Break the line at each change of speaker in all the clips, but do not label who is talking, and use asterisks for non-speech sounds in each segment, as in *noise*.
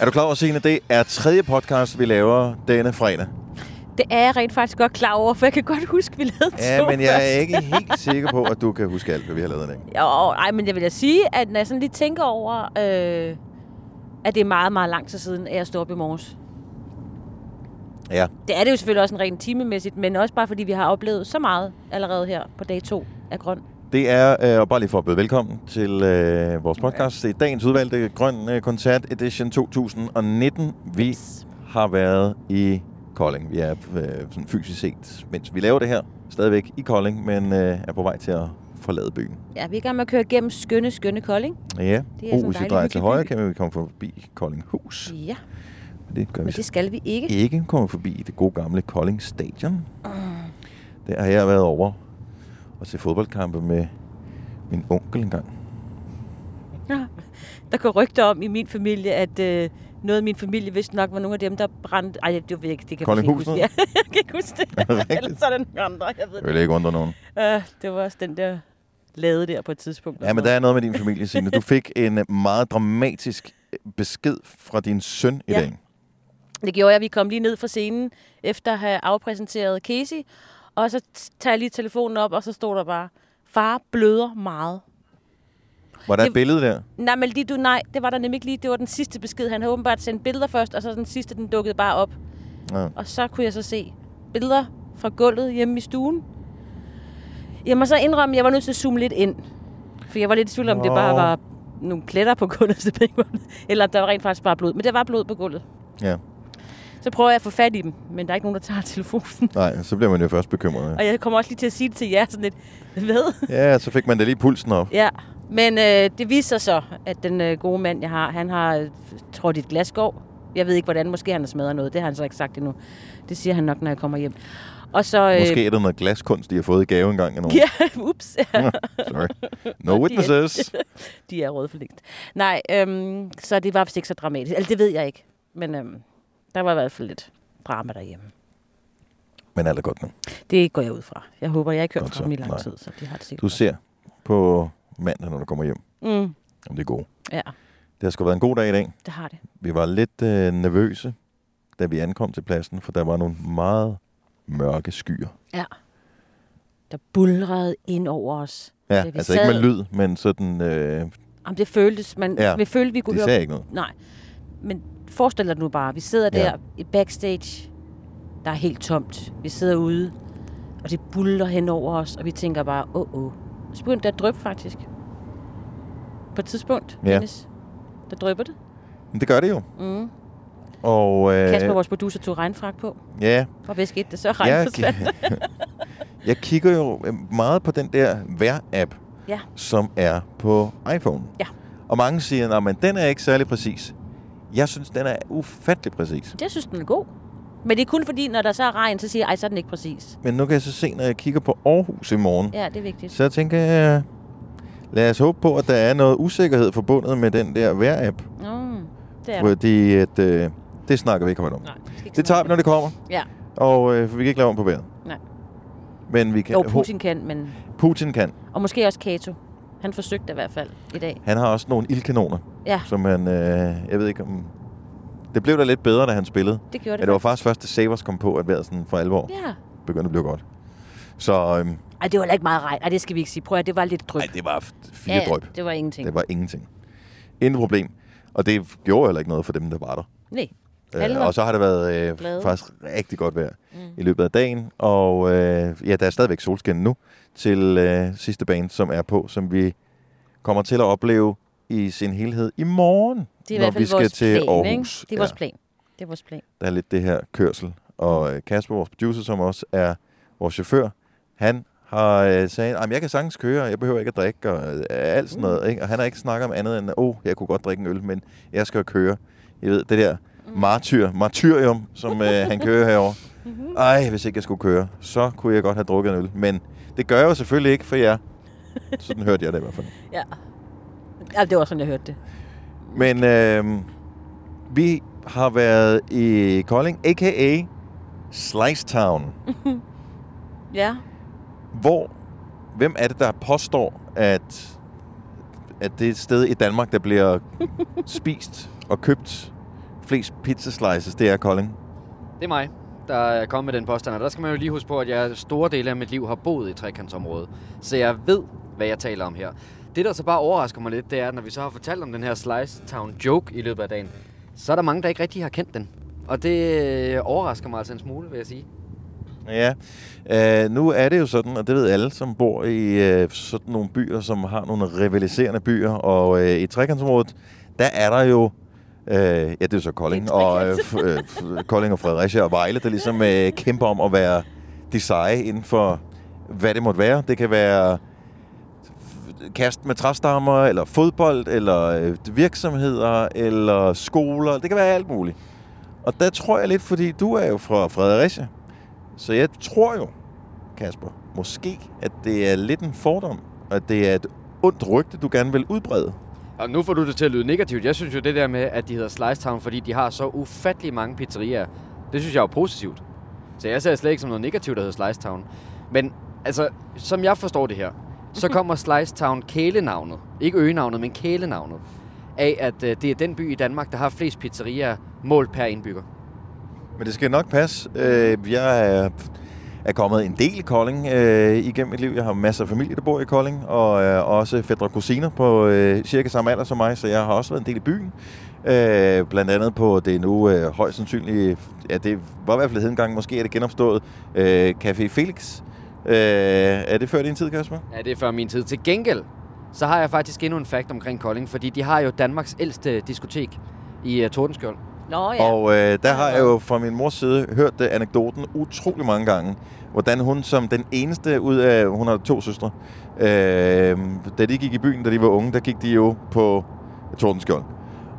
Er du klar over, Signe, det er tredje podcast, vi laver denne fredag?
Det er jeg rent faktisk godt klar over, for jeg kan godt huske, vi lavede
Ja,
to
men jeg er *laughs*
først.
ikke helt sikker på, at du kan huske alt, hvad vi har lavet i dag.
Jo, ej, men jeg vil da sige, at når jeg sådan lige tænker over, øh, at det er meget, meget lang tid siden, at jeg stod op i morges.
Ja,
Det er det jo selvfølgelig også en rent timemæssigt, men også bare fordi vi har oplevet så meget allerede her på dag to af grøn.
det er, øh, og bare lige for at byde velkommen til øh, vores podcast, det er dagens udvalgte Grøn øh, Koncert Edition 2019. Vi har været i Kolding. Vi er øh, sådan fysisk set, mens vi laver det her, stadigvæk i Kolding, men øh, er på vej til at forlade byen.
Ja, vi er i gang med at køre igennem skønne, skønne Kolding.
Ja,
Det er
og hvis
sådan
vi
dejlig
drejer til
hyggelig
højre,
by.
kan vi komme forbi Koldinghus.
Ja,
Det gør vi
men
så
det skal vi ikke.
ikke komme forbi det gode gamle Kolding Stadion.
Ah.
Der har jeg været over og til fodboldkampe med min onkel engang.
Ja. Der går rygter om i min familie, at øh, noget af min familie vidste nok var nogle af dem, der brændte... Ej, det var ikke, det kan jeg ikke
Koldinghus
huske. Ja, *laughs* jeg kan ikke huske det.
det rigtigt?
Eller så er der nogle andre, jeg ved
Jeg vil ikke undre nogen.
det. Øh, det var også den der lade der på et tidspunkt.
Ja, men der er noget med din familie, Signe. Du fik en øh, meget dramatisk øh, besked fra din søn i
Ja.
dag.
Det gjorde jeg, vi kom lige ned fra scenen, efter at have afpræsenteret Casey. Og så t- tager jeg lige telefonen op, og så stod der bare, far bløder meget.
Var der et
Det-
billede der?
Nej, men lige du, nej, det var der nemlig ikke lige. Det var den sidste besked. Han havde åbenbart sendt billeder først, og så den sidste, den dukkede bare op.
Ja.
Og så kunne jeg så se billeder fra gulvet hjemme i stuen. Jeg må så indrømme, at jeg var nødt til at zoome lidt ind. For jeg var lidt i tvivl om, det
Nå.
bare var nogle pletter på gulvet, så det ikke var- eller om der var rent faktisk bare blod. Men der var blod på gulvet.
ja.
Så prøver jeg at få fat i dem, men der er ikke nogen, der tager telefonen.
Nej, så bliver man jo først bekymret.
Og jeg kommer også lige til at sige det til jer sådan lidt, hvad?
Ja, så fik man da lige pulsen op.
Ja, men øh, det viser sig så, at den øh, gode mand, jeg har, han har øh, trådt i et glasgård. Jeg ved ikke, hvordan. Måske han har smadret noget. Det har han så ikke sagt endnu. Det siger han nok, når jeg kommer hjem. Og så... Øh,
Måske er der noget glaskunst, de har fået i gave engang af nogen.
*laughs* Ja, ups. *laughs* Ja,
Sorry. No
*laughs*
witnesses.
de er røde for længst. Nej, øhm, så det var vist ikke så dramatisk. Altså, det ved jeg ikke. Men øhm, der var i hvert fald lidt drama derhjemme.
Men alt er godt nu.
Det går jeg ud fra. Jeg håber, jeg har ikke hørt
Godt
fra
så.
dem i lang
Nej.
tid, så de har det sikkert.
Du ser på mandag, når du kommer hjem,
godt. Mm,
om det er gode.
ja,
Det har sgu været en god dag i dag.
det har det.
Vi var lidt øh, nervøse, da vi ankom til pladsen, for der var nogle meget mørke skyer.
Ja. Der bulrede ind over os.
Ja,
vi
altså ikke med
sad-
lyd, men sådan... Øh,
Jamen, det føltes, man,
Ja,
ja, vi følte, vi kunne
de
høre...
sagde ikke noget.
Nej, men forestil dig nu bare, vi sidder
Ja.
der i backstage, der er helt tomt. Vi sidder ude, og det buller hen over os, og vi tænker bare, åh, åh. Så begyndte det at dryppe faktisk. På et tidspunkt,
Ja.
ja. Dennis, der drypper det.
Men det gør det jo.
Mm.
Og, øh,
Kasper, vores producer, tog regnfrak på.
ja,
Og hvad skete der så?
jeg,
Regn ja,
*laughs* jeg kigger jo øh, meget på den der vejr-app,
ja.
som er på iPhone.
Ja.
Og mange siger, at den er ikke særlig præcis. Jeg synes, den er ufattelig præcis.
Jeg synes, den er god. Men det er kun fordi, når der så er regn, så siger jeg, ej, så er den ikke præcis.
Men nu kan jeg så se, når jeg kigger på Aarhus i morgen,
Ja, det er vigtigt.
så tænker jeg, lad os håbe på, at der er noget usikkerhed forbundet med den der vejr-app.
Mm, det
Ja.
er
Fordi at, øh, det snakker vi ikke højt om.
Nej, det, skal ikke
Det tager vi, når det kommer,
Ja.
og øh, for vi kan ikke lave om på vejret.
Nej.
Men vi kan,
Jo, Putin kan, men...
Ho- Putin kan.
Og måske også Kato. Han forsøgte i hvert fald i dag.
Han har også nogle ildkanoner,
Ja,
som han, øh, jeg ved ikke om... Det blev da lidt bedre, da han spillede.
det gjorde
Ja,
det.
det var faktisk først, da Savers kom på, at vejret sådan for alvor
Ja.
begyndte at blive godt. Så øhm,
Ej, det var heller ikke meget regn. Ej, det skal vi ikke sige. Prøv at høre, det var lidt dryp.
ej, det var f- fire
ja, ja,
drøb.
det var ingenting.
Det var ingenting. Intet problem. Og det gjorde heller ikke noget for dem, der var der.
Nej. Alle
Øh,
var
og så har det været øh,
glade.
faktisk rigtig godt vejr mm. i løbet af dagen. Og øh, ja, der er stadigvæk solskin nu til øh, sidste bane, som er på, som vi kommer til at opleve i sin helhed i morgen,
Det er i
når
hvert fald
vi skal
vores
til
plan,
Aarhus.
Ikke? Det er vores plan. Det er vores plan.
der er lidt det her kørsel. Og øh, Kasper, vores producer, som også er vores chauffør, han har øh, sagt, at jeg kan sagtens køre, og jeg behøver ikke at drikke, og øh, alt sådan noget. Ikke? Og han har ikke snakket om andet end, åh, oh, jeg kunne godt drikke en øl, men jeg skal køre. Jeg ved, det der martyr, martyrium, som øh, han kører herover. Ej, hvis ikke jeg skulle køre, så kunne jeg godt have drukket en øl. Men det gør jeg jo selvfølgelig ikke for jer. Sådan hørte jeg det i hvert fald.
Ja. ja. det var sådan, jeg hørte det.
Men øh, vi har været i Kolding, a.k.a. Slice Town.
*laughs* Ja.
Hvor, hvem er det, der påstår, at, *laughs* at det er et sted i Danmark, der bliver spist og købt flest pizza slices, det er Kolding.
Det er mig, der er kommet med den påstand. Og der skal man jo lige huske på, at jeg store dele af mit liv har boet i trekantsområdet. Så jeg ved, hvad jeg taler om her. Det, der så bare overrasker mig lidt, det er, at når vi så har fortalt om den her Slice Town joke i løbet af dagen, så er der mange, der ikke rigtig har kendt den. Og det øh, overrasker mig altså en smule, vil jeg sige.
Ja, øh, nu er det jo sådan, og det ved alle, som bor i øh, sådan nogle byer, som har nogle rivaliserende byer, og øh, i trekantsområdet, der er der jo, øh, ja, det er jo så Kolding,
Det er
og, øh,
trekant.
f- øh, f- Kolding og Fredericia og Vejle, der ligesom øh, kæmper om at være de seje inden for, hvad det måtte være. Det kan være f- kast med træstammer, eller fodbold, eller øh, virksomheder, eller skoler. Det kan være alt muligt. Og der tror jeg lidt, fordi du er jo fra Fredericia, så jeg tror jo, Kasper, måske, at det er lidt en fordom, og at det er et ondt rygte, du gerne vil udbrede.
Og nu får du det til at lyde negativt. Jeg synes jo det der med, at de hedder Slice Town, fordi de har så ufattelig mange pizzerier, det synes jeg er jo positivt. Så jeg ser det slet ikke som noget negativt, der hedder Slice Town. Men altså, som jeg forstår det her, så kommer Slice Town kælenavnet. Ikke øgenavnet, men kælenavnet. Af, at øh, det er den by i Danmark, der har flest pizzerier målt per indbygger.
Men det skal nok passe. Øh, Jeg er, er kommet en del i Kolding øh, igennem mit liv. Jeg har masser af familie, der bor i Kolding, og øh, også fædre og kusiner på øh, cirka samme alder som mig, så jeg har også været en del i byen. Øh, blandt andet på det nu øh, højst sandsynligt, ja, det var i hvert fald hed engang, måske er det genopstået, øh, Café Felix. Øh, er det før din tid, Kasper?
Ja, det er før min tid. Til gengæld, så har jeg faktisk endnu en fakt omkring Kolding, fordi de har jo Danmarks ældste diskotek i øh, Tordenskjold.
Nå ja.
Og øh, der har jeg jo fra min mors side hørt øh, anekdoten utrolig mange gange, hvordan hun som den eneste ud af, hun har to søstre, øh, da de gik i byen, da de var unge, der gik de jo på Tordenskjold.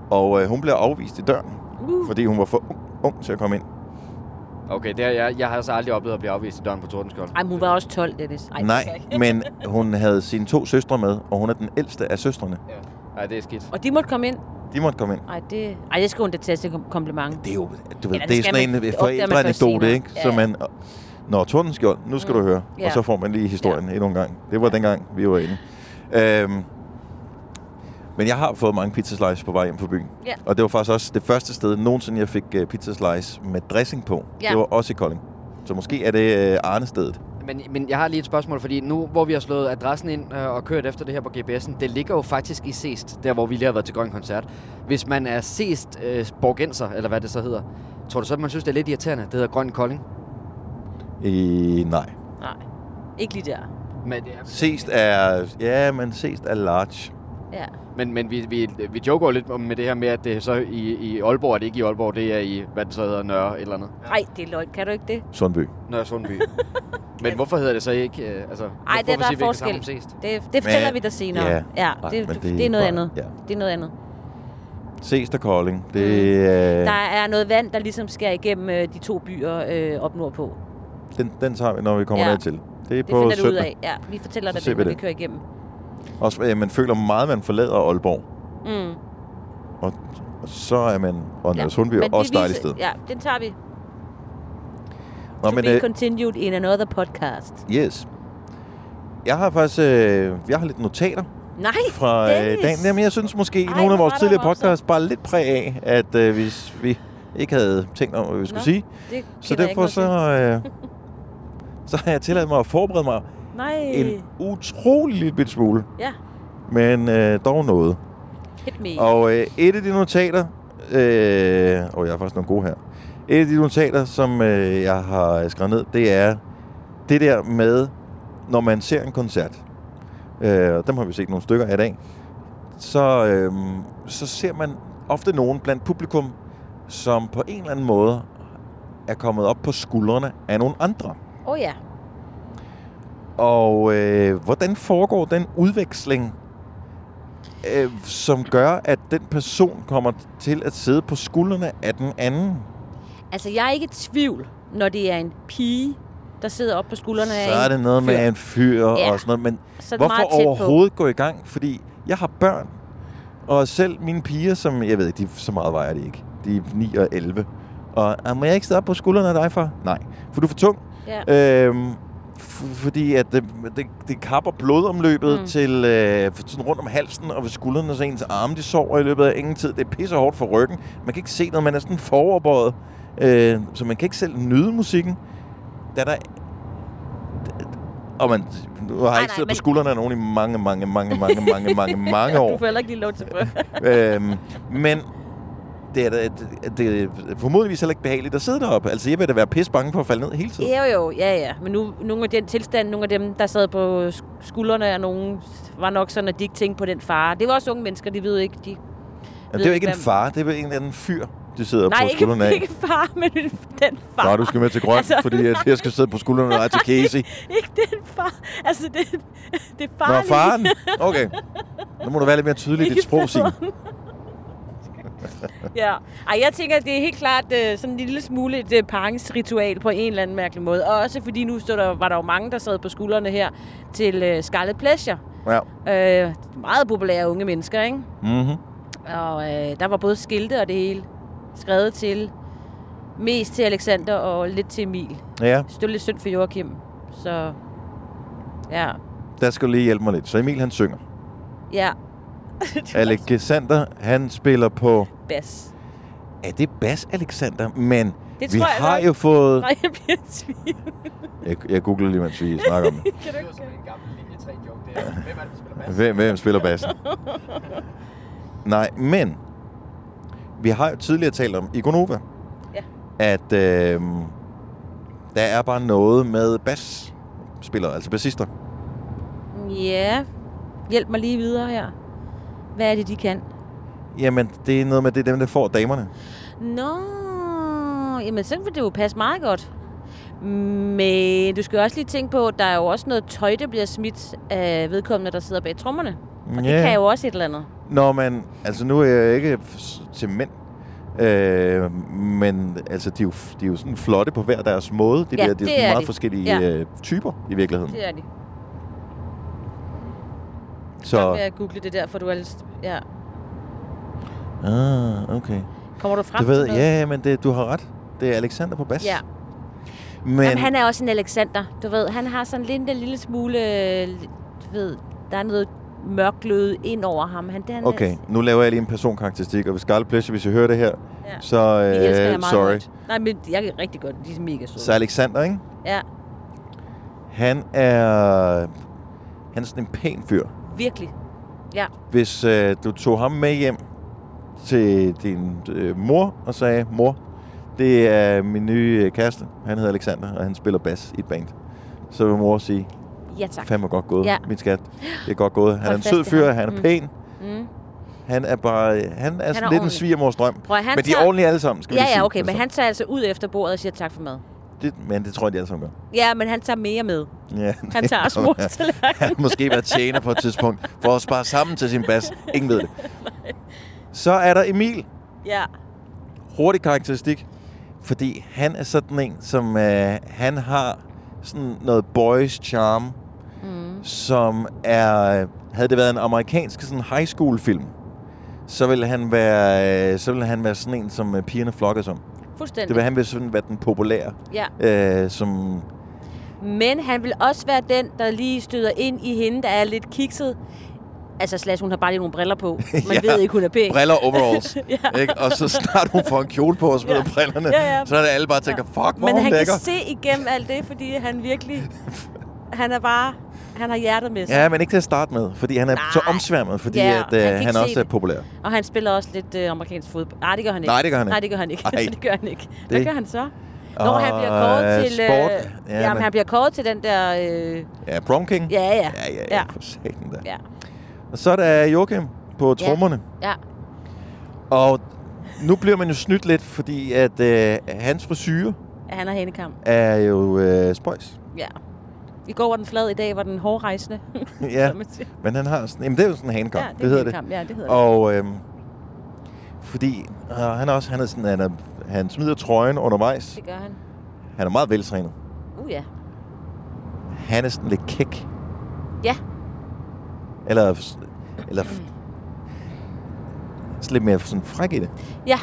Og øh, hun blev afvist i døren,
Uh.
fordi hun var for ung, ung til at komme ind.
Okay, det har jeg, jeg har altså aldrig oplevet at blive afvist i døren på Tordenskjold.
Ej, men hun var også 12, Dennis. Ej, det skal
Nej,
jeg ikke.
men hun havde sine to søstre med, og hun er den ældste af søstrene.
Nej, det er skidt.
Og de måtte komme ind.
De måtte komme ind.
Ej, det, ej, det skal hun da tage til kom- kompliment.
Det er jo, du ved,
Eller det
det er
skal
sådan
man-
en øh,
det opdager man først
forældreanekdote,
senere.
ikke?
Ja,
Så
ja. Mm.
man, Nå, Tordenskjold, nu skal du høre.
Ja.
Og så får man lige historien endnu en gang. Det var dengang, vi var inde. Øhm, men jeg har fået mange pizza slice på vej hjem fra byen.
Ja.
Og det var faktisk også det første sted nogensinde, jeg fik uh, pizza slice med dressing på.
Ja.
Det var også i Kolding. Så måske er det uh, Arnestedet.
Men, men jeg har lige et spørgsmål, fordi nu, hvor vi har slået adressen ind øh, og kørt efter det her på GPS'en, det ligger jo faktisk i Seest, der hvor vi lige har været til Grøn Koncert. Hvis man er Seest øh, Borgenser, eller hvad det så hedder, tror du så, at man synes, det er lidt irriterende? Det hedder Grøn Kolding.
I, nej.
Nej, ikke lige der.
Men, det er...
Sest er... Ja, men sest er large.
Ja.
men, men vi, vi, vi joker jo lidt om- med det her med, at det er så i, i Aalborg, er det ikke i Aalborg, det er i, hvad det så hedder, Nørre et eller andet.
Ej, det er løgn. Kan du ikke det?
Sundby.
Nørre Sundby. *laughs* men hvorfor hedder det så ikke, øh, altså,
Ej,
hvorfor
det er der
siger vi ikke
forskel.
sammen Seest?
Det, det fortæller
Men-
vi dig senere.
Ja.
ja
Nej,
det,
men
det, det, er noget
bare-
andet.
Ja.
Det er noget andet.
Sest er Kolding. Det, øh,
Mm. Der er noget vand, der ligesom skærer igennem øh, de to byer øh, op nordpå. Det
den, den tager vi, når vi kommer
Ja.
ja. dertil. Det er på
finder du ud
søndag.
af. Ja, vi fortæller
Så
dig
ser
det,
vi
når vi
det.
kører igennem.
Også, øh, man føler meget, man forlader Aalborg.
Mm.
Og, og så er man... Og Nørre Sundby er
Men
også
vi
dejligt
viser-
sted.
Ja, den tager vi.
Nå,
to
men,
be
øh,
continued in another podcast.
yes. Jeg har faktisk... Øh, jeg har lidt notater
Nej,
fra øh,
Dennis.
dagen. Jamen, jeg synes måske,
Ej,
Ej, nogle af
hvor
vores
var der
tidligere
voksent.
podcasts bare lidt præg af, at øh, hvis vi ikke havde tænkt om, hvad vi skulle
Nå,
sige.
det
Så
kender jeg ikke
derfor så,
noget til.
øh, så har jeg tilladt mig at forberede mig
Nej. *laughs*
en utrolig lille bitte smule.
Ja.
Men øh, dog noget.
Hit me.
Og øh, et af de notater, øh, og jeg har faktisk nogle gode her. Et af de notater, som øh, jeg har skrevet ned, det er det der med, når man ser en koncert. Øh, og dem har vi set nogle stykker af i dag. Så, øh, så ser man ofte nogen blandt publikum, som på en eller anden måde er kommet op på skuldrene af nogle andre.
Åh oh, ja.
Og øh, hvordan foregår den udveksling, øh, som gør, at den person kommer til at sidde på skuldrene af den anden?
Altså, jeg er ikke i tvivl, når det er en pige, der sidder oppe på skuldrene af
Så er
en
det noget
fyr.
med en fyr
Ja.
ja. og sådan noget. Men
Så er det meget
hvorfor
tæt
overhovedet gå i gang? Fordi jeg har børn, og selv mine piger, som jeg ved ikke, de, så meget vejer de ikke. De er 9 og 11. Og "Ah, må jeg ikke sidde op på skuldrene af dig, far? Nej, for du er for tung.
På. Ja.
Øhm, f- fordi at det, det, det kapper blodomløbet
Mm.
mm. til øh, sådan rundt om halsen og ved skuldrene, så ens arme de sover i løbet af ingen tid. Det er pisse hårdt for ryggen. Man kan ikke se noget, man er sådan foroverbøjet. Øh, så man kan ikke selv nyde musikken. Da der... Og man, nu har
Nej,
jeg ikke
nej,
siddet på
men-
skuldrene af nogen i mange, mange, mange, mange, mange, mange,
*laughs*
mange år
Du får heller ikke lige lov til at prøve.
*laughs* øhm, men det er, da- det, det er formodentligvis heller ikke behageligt at sidde deroppe. Altså, jeg vil da være pis bange for at falde ned hele tiden.
Jo, jo, ja, ja. Men nu, nogle af den tilstand, nogle af dem, der sad på sk- skuldrene af nogen, var nok sådan, at de ikke tænkte på den fare. Det var også unge mennesker, de ved jo ikke. De...
Jamen, det er jo
ved
ikke en
hvem-
far, det er jo en eller anden fyr, de sidder
Nej,
på skuldrene
ikke,
af.
ikke far, *laughs* men den far.
Nej, du skal med til grøn,
Altså-
altså... fordi at jeg skal sidde på skuldrene af til
*laughs*
Casey.
Ikke den far. Altså, det, det er
Nå,
farligt.
faren? Okay. Nu må du være lidt mere tydelig i dit sprog, Signe.
*laughs* ja. Ej, jeg tænker, at det er helt klart øh, sådan en lille smule et øh, paringsritual på en eller anden mærkelig måde. Og også fordi nu stod der, var der jo mange, der sad på skuldrene her til øh, Scarlet Pleasure.
Ja.
Øh, meget populære unge mennesker, ikke?
Mm-hmm.
Og øh, der var både skilte og det hele skrevet til. Mest til Alexander og lidt til Emil.
Ja,
Så det var lidt synd for Joachim. Så ja,
der skal du lige hjælpe mig lidt. Så Emil, han
*laughs*
synger.
ja,
Alexander, han spiller på...
bas.
Er det Bas Alexander? Men
Det
vi
tror jeg
har
nok.
jo fået...
Nej, *laughs* jeg bliver tvivl.
Jeg, jeg googler lige, mens vi snakker om det.
Kan du ikke gøre det?
en gammel linje 3 joke der. Hvem er det, der spiller
Hvem, hvem spiller
*laughs*
bassen? Nej, men vi har jo tidligere talt om i Gonova,
Ja.
at øh, der er bare noget med basspillere, altså bassister.
Ja, hjælp mig lige videre her. Hvad er det, de kan?
Jamen, det er noget med, det er dem, der får damerne.
Nå, jamen så vil det jo passe meget godt. Men du skal jo også lige tænke på, at der er jo også noget tøj, der bliver smidt af vedkommende, der sidder bag trommerne. Og yeah. det kan jo også et eller andet.
Nå, men altså nu er jeg ikke s- til mænd, øh, men altså de er, jo, f- de er jo sådan flotte på hver deres måde. De,
Ja,
ja, der, de er,
det
sådan
er
meget
de.
forskellige
Ja.
øh, typer i virkeligheden.
Det er det. Så
Så,
vil jeg google det der, for du er lidt... Ja.
ah, okay.
Kommer du frem
Du ved,
til noget?
ja, men det, du har ret. Det er Alexander på bas.
Ja.
Men,
Jamen, han er også en Alexander, du ved. Han har sådan lidt en lille smule... øh, Du ved, der er noget mørkløde ind over ham. Han, det, han altså-
Okay, nu laver jeg lige en personkarakteristik, og hvis Scarlet Pleasure, hvis jeg hører det her,
Er, ja.
så
Vi elsker
øh,
jer meget
sorry.
højt. Nej, men jeg kan rigtig godt. De er mega søde.
Så Alexander, ikke?
Ja,
Han er, han er sådan en pæn fyr.
virkelig.
Hvis øh, du tog ham med hjem til din øh, mor og sagde, mor, det er min nye øh, kæreste, han hedder Alexander, og han spiller bas i et band, så vil mor sige,
Ja, tak.
fandme godt gået,
Ja.
min skat. Det er godt gået. Han
Hold
er en
fast
sød
i
fyr,
ham.
han er
Mm.
pæn,
Mm.
han er bare, han er, han er sådan lidt en
ordentlig.
svigermors drøm.
Prøv, at, han
Men de er
tager...
ordentlige alle sammen, skal vi
Ja,
lige
ja,
sige.
okay, men han tager altså ud efter bordet og siger tak for mad.
Det, men det tror jeg, de alle sammen gør.
Ja, men han tager mere med.
Ja.
Han
*laughs*
tager også mors tallerken.
han har måske været tjener på et tidspunkt, for at spare sammen til sin bas. Ingen ved det. Så er der Emil.
*laughs* Ja,
Hurtig karakteristik. Fordi han er sådan en, som øh, han har sådan noget boys charm, mm. som er... Havde det været en amerikansk sådan high school film, så ville han være, øh, så ville han være sådan en, som øh, pigerne flokkes om.
fuldstændig.
Det vil han vil sådan være den populære,
Ja.
øh, som
Men han vil også være den, der lige støder ind i hende, der er lidt kikset. Altså, slash, hun har bare lige nogle briller
*laughs*
på. Man
Ja.
ved ikke, hun er pæn.
briller overalls.
*laughs* Ja.
ja. ikke? Og så snart hun får en kjole på og smider
Ja.
ja. brillerne,
Ja, ja.
så er det alle bare tænker, fuck, hvor er
Men
hun
han
lækker.
kan se igennem alt det, fordi han virkelig...
*laughs*
Han er bare... Han har hjertet med sig.
Ja, men ikke til at starte med, fordi han er Nej. så
Nej.
omsværmet, fordi
Ja,
ja,
han kan
at, øh,
ikke
han
se
også er
det.
populær.
Og han spiller også lidt øh, amerikansk fodbold. Nej, det gør han ikke.
Nej, det gør han ikke.
Nej, det gør han ikke. *laughs*
Nej.
det gør han ikke. Hvad
Det-
gør han så? Når han bliver
Og,
kåret
øh,
til...
sport.
Øh,
Ja,
jamen,
men-
han bliver kåret til den der... Øh,
Ja, prom king.
ja, ja.
ja, ja,
ja.
ja. For satan da.
ja.
Og så er der Joachim på
Ja.
trommerne.
ja.
Og nu bliver man jo snydt lidt, fordi at øh, hans frisyre
ja han har handikamp.
er jo øh, spøjs.
Ja. I går var den flad, i dag var den hårdrejsende.
ja,
*laughs* som man siger.
men han har sådan... Jamen, det er jo sådan en handkamp.
ja,
det, hedder det.
handikamp. Ja, det hedder
Og øhm, fordi øh, han er også han er sådan, han, er, han smider trøjen
det.
undervejs.
Det gør han.
Han er meget veltrænet.
Uh ja.
Han er sådan lidt kæk.
Ja.
Eller, f- eller f- sådan lidt mere sådan fræk i det.
Ja,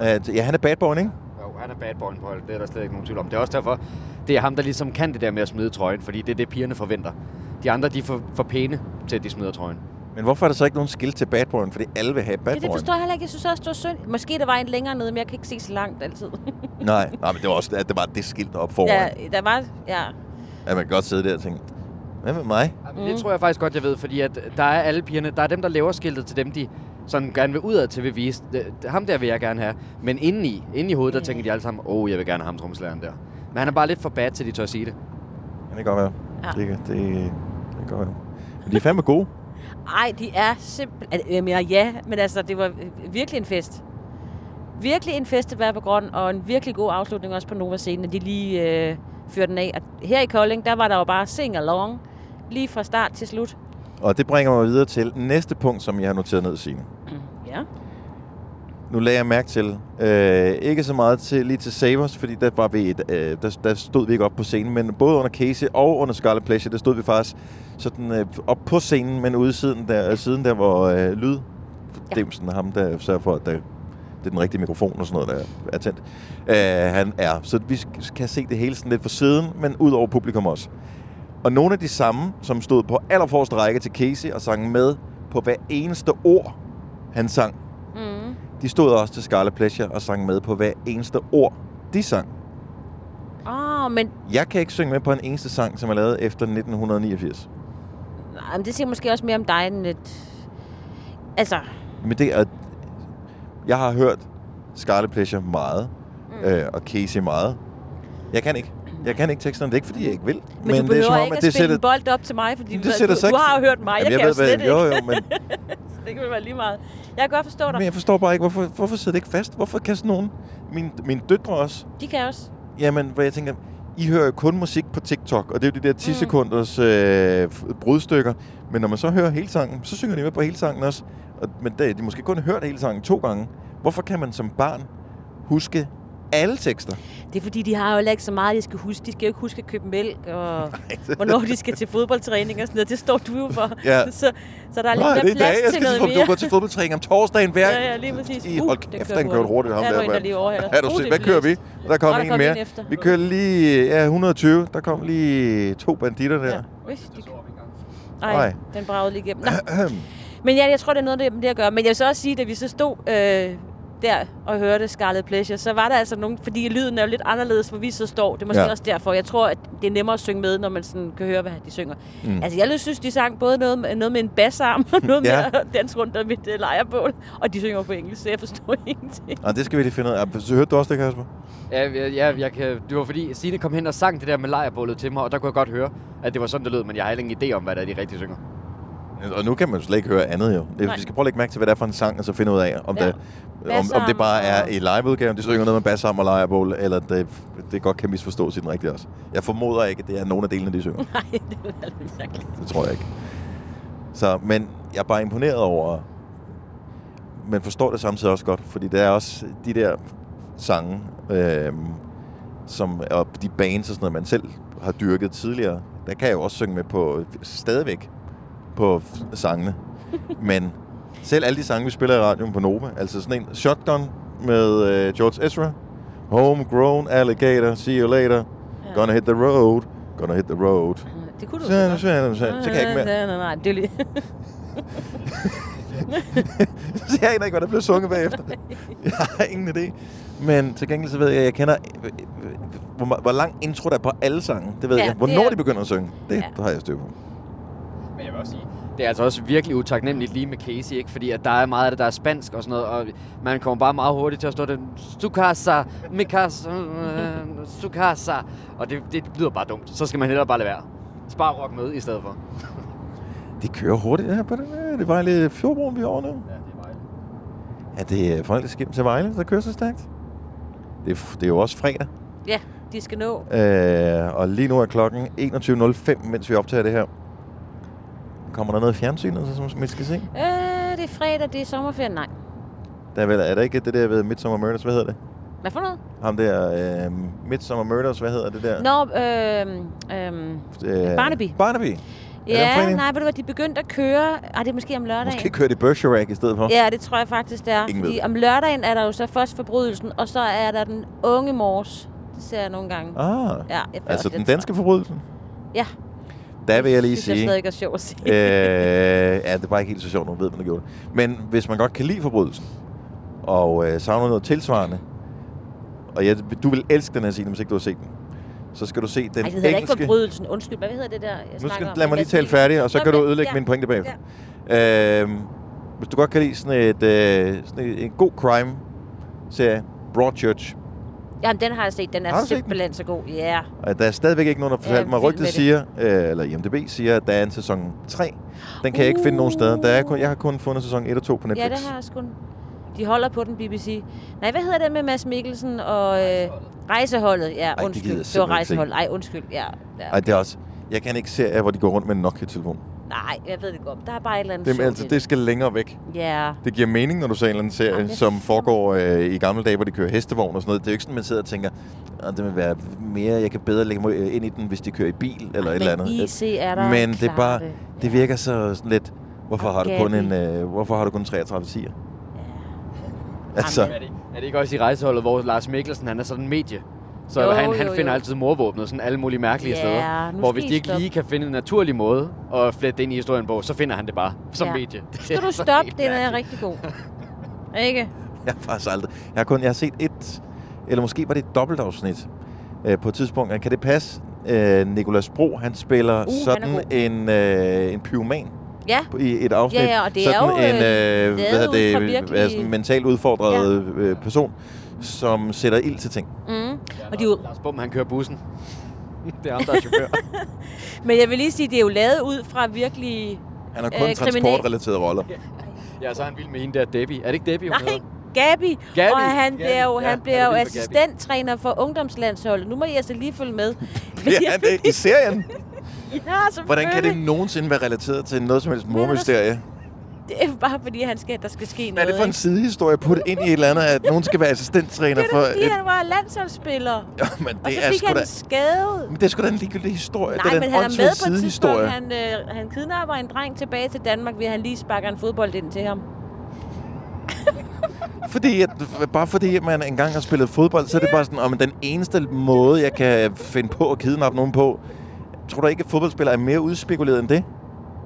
At, ja, han er bad boy, ikke?
Jo, han er bad boy på holdet. Det er der slet ikke nogen tvivl om. Det er også derfor, Det er ham, der ligesom kan det der med at smide trøjen, fordi det er det, pigerne forventer. De andre, de er for, for pæne til, at de smider trøjen.
Men hvorfor er der så ikke nogen skilt til badboyen? Fordi alle vil have badboyen.
Det, det forstår jeg heller ikke. Jeg synes også, det var synd. Måske der var en længere nede, men jeg kan ikke se så langt altid.
Nej, nej, men det var også at det var det skilt op foran.
*laughs* ja,
Ja.
der var... Ja.
At man kan godt sidde der og tænke, hvad med mig?
Mm. Det tror jeg faktisk godt, jeg ved, fordi at der er alle pigerne, der er dem, der laver skiltet til dem, de sådan gerne vil udad til vil vise, "Det- det- ham der vil jeg gerne have. Men indeni, inde i hovedet, der tænker de alle sammen, åh, oh, jeg vil gerne have ham tromslæren der. Men han er bare lidt for bad til, de tør at sige det.
Ja, det kan godt være.
Ja.
Det, kan- det, det kan godt være. Men de er fandme gode.
Ej, de er simpelthen... Jeg mener, ja, men altså, det var virkelig en fest. Virkelig en fest at være på Grøn, og en virkelig god afslutning også på Nova Scenen, at de lige øh, fyrte den af. Og her i Kolding, der var der jo bare sing along, lige fra start til slut.
Og det bringer mig videre til næste punkt, som jeg har noteret ned, Signe.
Ja.
Nu lagde jeg mærke til, øh, ikke så meget til, lige til Savers, fordi der, var vi et, øh, der, der stod vi ikke op på scenen, men både under Casey og under Scarlet Pleasure, der stod vi faktisk sådan, øh, op på scenen, men ude siden der, siden der hvor øh, lyd, ja. ham der sørger for, at der, det er den rigtige mikrofon og sådan noget, der er tændt, øh, han er. Så vi sk- kan se det hele sådan lidt fra siden, men ud over publikum også. Og nogle af de samme, som stod på allerforreste række til Casey og sang med på hver eneste ord, han sang,
Mm.
de stod også til Scarlet Pleasure og sang med på hver eneste ord, de sang.
Åh, oh, men
Jeg kan ikke synge med på en eneste sang, som er lavet efter 1989.
Nej, men det siger måske også mere om dig end lidt... Altså,
Men det er... Jeg har hørt Scarlet Pleasure meget, mm. øh, og Casey meget. Jeg kan ikke. Jeg kan ikke teksterne. Det er ikke, fordi jeg ikke vil.
men, men du
det er
behøver
som om,
ikke at
det
spille
sætter,
en bold op til mig, fordi
det
du,
sætter sig
du, du
ikke-
har jo hørt mig,
Jamen,
jeg, jeg kan jo
ved,
slet
hvad- jo,
ikke.
jo, men,
*laughs* Det kan være lige meget. Jeg kan godt forstå dig.
men jeg forstår bare ikke, hvorfor, hvorfor sidder det ikke fast? Hvorfor kan sådan nogen... Min, mine døtre også
De kan også.
Jamen, hvor jeg tænker, I hører jo kun musik på TikTok, og det er jo de der 10 sekunders øh, f- brudstykker. Men når man så hører hele sangen, så synger de med på hele sangen også. Og, men det, de har måske kun hørt hele sangen to gange. Hvorfor kan man som barn huske alle tekster?
Det er fordi, de har jo heller ikke så meget, de skal huske. De skal jo ikke huske at købe
*laughs*
mælk, og hvornår de skal til fodboldtræning og sådan noget. Det står du jo for.
Ja.
*laughs* Så, så der er
Nå,
lidt
det er
mere
i dag,
plads
jeg
til
skal
noget
til fodbold.
mere.
Du går til fodboldtræning om torsdagen hver.
Ja, ja, lige præcis.
I,
Uh,
hold
den
kæft,
kørte
den kørte hurtigt, ham
Der er
der.
en, der
mand.
lige overhaler.
Er du
Uh,
uh,
det
Hvad
blev
kører vi?
læst.
Der kom
Nå, der
en
kom en
mere.
efter.
Vi kører lige ja, 120. Der kom lige to banditter der.
Ja. Ui, de... Ej,
Ej.
den bragede lige igennem. Nå.
*clears throat*
Men ja, jeg tror, det er noget det med det at gøre. Men jeg vil så også sige, at da vi så stod øh, der og hørte Scarlet Pleasure, så var der altså nogen, fordi lyden er jo lidt anderledes, hvor vi så står. Det er måske
Ja.
ja. også derfor. Jeg tror, at det er nemmere at synge med, når man sådan kan høre, hvad de synger. Mm. Altså, jeg synes, de sang både noget med, noget med en bassarm og noget
Ja.
ja. med at danse rundt om et øh, lejrbål. Og de synger på engelsk, så jeg forstår *laughs* ingenting.
Og det skal vi lige finde ud af. Så hørte du også det, Kasper?
Ja, ja, ja jeg kan, det var fordi Signe kom hen og sang det der med lejrbålet til mig, og der kunne jeg godt høre, at det var sådan, det lød, men jeg har heller ingen idé om, hvad der er, de rigtig synger.
Og nu kan man jo slet ikke høre andet jo. Det,
Nej.
vi skal prøve at lægge mærke til, hvad det er for en sang, og så finde ud af, om, ja.
Ja.
det, om, om det bare er i liveudgaven, de synger noget med bass sammen og lejrebål, eller det, det godt kan misforstås i den rigtige også. Jeg formoder ikke, at det er nogen af delene, de synger.
Nej, det er altså lidt mærkeligt.
det tror jeg ikke. Så, men jeg er bare imponeret over, men forstår det samtidig også godt, fordi det er også de der sange, øh, som, og de bands og sådan noget, man selv har dyrket tidligere, der kan jeg jo også synge med på, stadigvæk på f- sangene. men selv alle de sange, vi spiller i radioen på Nova, altså sådan en Shotgun med øh, George Ezra, Homegrown Alligator, See You Later, Gonna Hit The Road, Gonna Hit The Road.
Det kunne du
Så,
jo
så, så, så, så kan jeg ikke mere.
Nej, nej, nej, det er jo lige... *laughs*
Så *laughs* jeg aner ikke, hvad der blev sunget
*laughs*
bagefter. Jeg har ingen idé. Men til gengæld så ved jeg, at jeg kender, øh, øh, hvor, ma- hvor lang intro der er på alle sange. Det ved
Ja,
jeg.
det
Hvornår
er-
de begynder at synge, det
Ja.
har jeg styr på.
Men jeg vil også sige, det er altså også virkelig utaknemmeligt lige med Casey, ikke? fordi at der er meget af det, der er spansk og sådan noget, og man kommer bare meget hurtigt til at stå den Stukasa, Mikasa, øh, Stukasa, og det, det lyder bare dumt. Så skal man hellere bare lade være. Så bare rock med i stedet for.
Det kører hurtigt her på den her. Det var lidt fjordbroen, vi er over nu. Ja, det er folk, der til Vejle, der kører så stærkt. Det er, f- det er jo også fredag.
Ja, de skal nå.
Øh, og lige nu er klokken 21.05, mens vi optager det her. Kommer der noget fjernsyn, altså, som som vi skal se?
Øh, det er fredag, det er sommerferien. Nej.
Der er, vel, er der ikke det der ved Midsummer Murders? Hvad hedder det?
Hvad for noget?
Ham der øh, Midsummer Murders, hvad hedder det der?
Nå, øhm, øhm,
Øh,
Barnaby.
Barnaby. det om
ja,
fredagen?
nej, ved du hvad, de begyndte at køre, ah, det er måske om lørdagen.
Måske kører det Bergerac i stedet for.
Ja, det tror jeg faktisk, det er.
Ingen ved
fordi
det.
om lørdagen er der jo så først forbrydelsen, og så er der den unge mors, Det ser jeg nogle gange.
Ah,
Ja, jeg får
altså
også
den
lidt
danske forbrydelse?
Ja.
Der vil jeg lige
Det synes jeg
sige...
stadig er sjovt at sige.
øh, ja, det er bare ikke helt så sjovt, når man ved, man har gjort det. Men hvis man godt kan lide forbrydelsen, og øh, savner noget tilsvarende, og ja, du vil elske den her scene, hvis ikke du har set den, så skal du se den
Ej, det hedder da ikke
engelske...
forbrydelsen. Undskyld, hvad hedder det der, jeg
nu skal,
snakker om?
lad mig lige tale færdig, og så
Nå,
kan du
men-
ødelægge
ja.
min pointe bagefter. Ja. Øhm, hvis du godt kan lide sådan, et, øh, sådan et, en god crime-serie, Broadchurch,
Jamen, den har jeg set. Den er
Har du set den?
simpelthen så god. Ja.
Og der er stadigvæk ikke nogen, der har fortalt
Ja,
mig.
vild
Rygtet
med det.
siger, øh, eller IMDB siger, at der er en sæson 3. Den kan jeg ikke finde nogen steder. Der er kun, jeg har kun fundet sæson 1 og 2 på Netflix.
Ja, det har jeg sgu. De holder på den, BBC. Nej, hvad hedder det med Mads Mikkelsen og... Øh, rejseholdet, ja,
det
undskyld.
gider jeg simpelthen
det, var
ikke se.
rejseholdet. Ej, undskyld, ja. ja.
Ej, det er også... Jeg kan ikke se, hvor de går rundt med en Nokia-telefon.
Nej, jeg ved det godt. Der er bare et eller andet
Det,
sjovt
altså,
i
det skal længere væk.
Ja.
Det giver mening, når du ser en eller anden serie,
Jamen, jeg-
som foregår øh, i gamle dage, hvor de kører hestevogn og sådan noget. Det er jo ikke sådan, man sidder og tænker, at det vil være mere, jeg kan bedre lægge mig øh, ind i den, hvis de kører i bil eller et eller andet. Øh,
Men IC er der
Men det er
klart øh,
bare,
det.
det virker så sådan lidt, hvorfor har, du kun en,
Gabi.
øh, hvorfor har du kun 33 siger? Altså-
Jamen,
Er det, er det ikke også i rejseholdet, hvor Lars Mikkelsen han er sådan en medie? Så
Jo,
jo, han, han
jo, jo.
finder altid morvåbnet sådan alle mulige mærkelige
Ja,
steder.
nu
Hvor
skal
hvis
I
de ikke
stoppe.
lige kan finde en naturlig måde at flette det ind i historien på, så finder han det bare som
Ja.
medie. *laughs*
Skal du stoppe? Den er rigtig god. Ikke?
*laughs* Jeg har faktisk aldrig. Jeg har kun jeg har set et, eller måske var det et dobbeltafsnit øh, på et tidspunkt. Kan det passe? Øh, Nikolas Bro, han spiller
Uh,
sådan
han er god.
en, øh, en pyroman
Ja,
på- i et afsnit.
Ja, ja, og det er
sådan
jo, øh,
en øh,
lavet
hvad hedder
ud fra
det,
virkelige-
hvad, sådan en mentalt udfordret ja. øh, person, som sætter ild til ting.
mm. og de er
Lars,
jo,
Lars Bum, han kører bussen. *laughs* det er ham, der er chauffør.
men jeg vil lige sige, det er jo lavet ud fra virkelig...
Han har kun øh,
Øh, kriminal-
transportrelaterede
*laughs*
roller.
*laughs* ja, så er han vild med en der Debbie. Er det ikke Debbie, hun
Nej,
hedder?
Gabi.
Gabi,
Og han
Gabi,
bliver jo, han
ja, han
bliver
er
jo
vild med Gabi.
assistenttræner for ungdomslandsholdet. Nu må I altså lige følge med.
*laughs*
Men
Ja,
jeg-
det er i serien.
*laughs* ja, selvfølgelig.
Hvordan kan det nogensinde være relateret til noget som helst mormysterie?
Det er bare fordi, han skal, der skal ske
Hvad er
noget.
det for en
ikke?
sidehistorie at putte ind i et eller andet, at nogen skal være assistenttræner
*laughs* det er
for
da, fordi
et... *laughs*
han var landsholdsspiller.
Jamen,
Og så
det er
fik
sgu
han
da...
en skade.
Men det er sgu da en ligegyldig historie. det
Nej,
er da
men
en
han er
åndssvag
med på et tidspunkt.
sidehistorie.
Han, øh, han kidnapper en dreng tilbage til Danmark, ved at han lige sparker en fodbold ind til ham.
Fordi at, bare fordi at man engang har spillet fodbold, så er det bare sådan, om den eneste måde, jeg kan finde på at kidnappe nogen på, tror du ikke, at fodboldspillere er mere udspekuleret end det?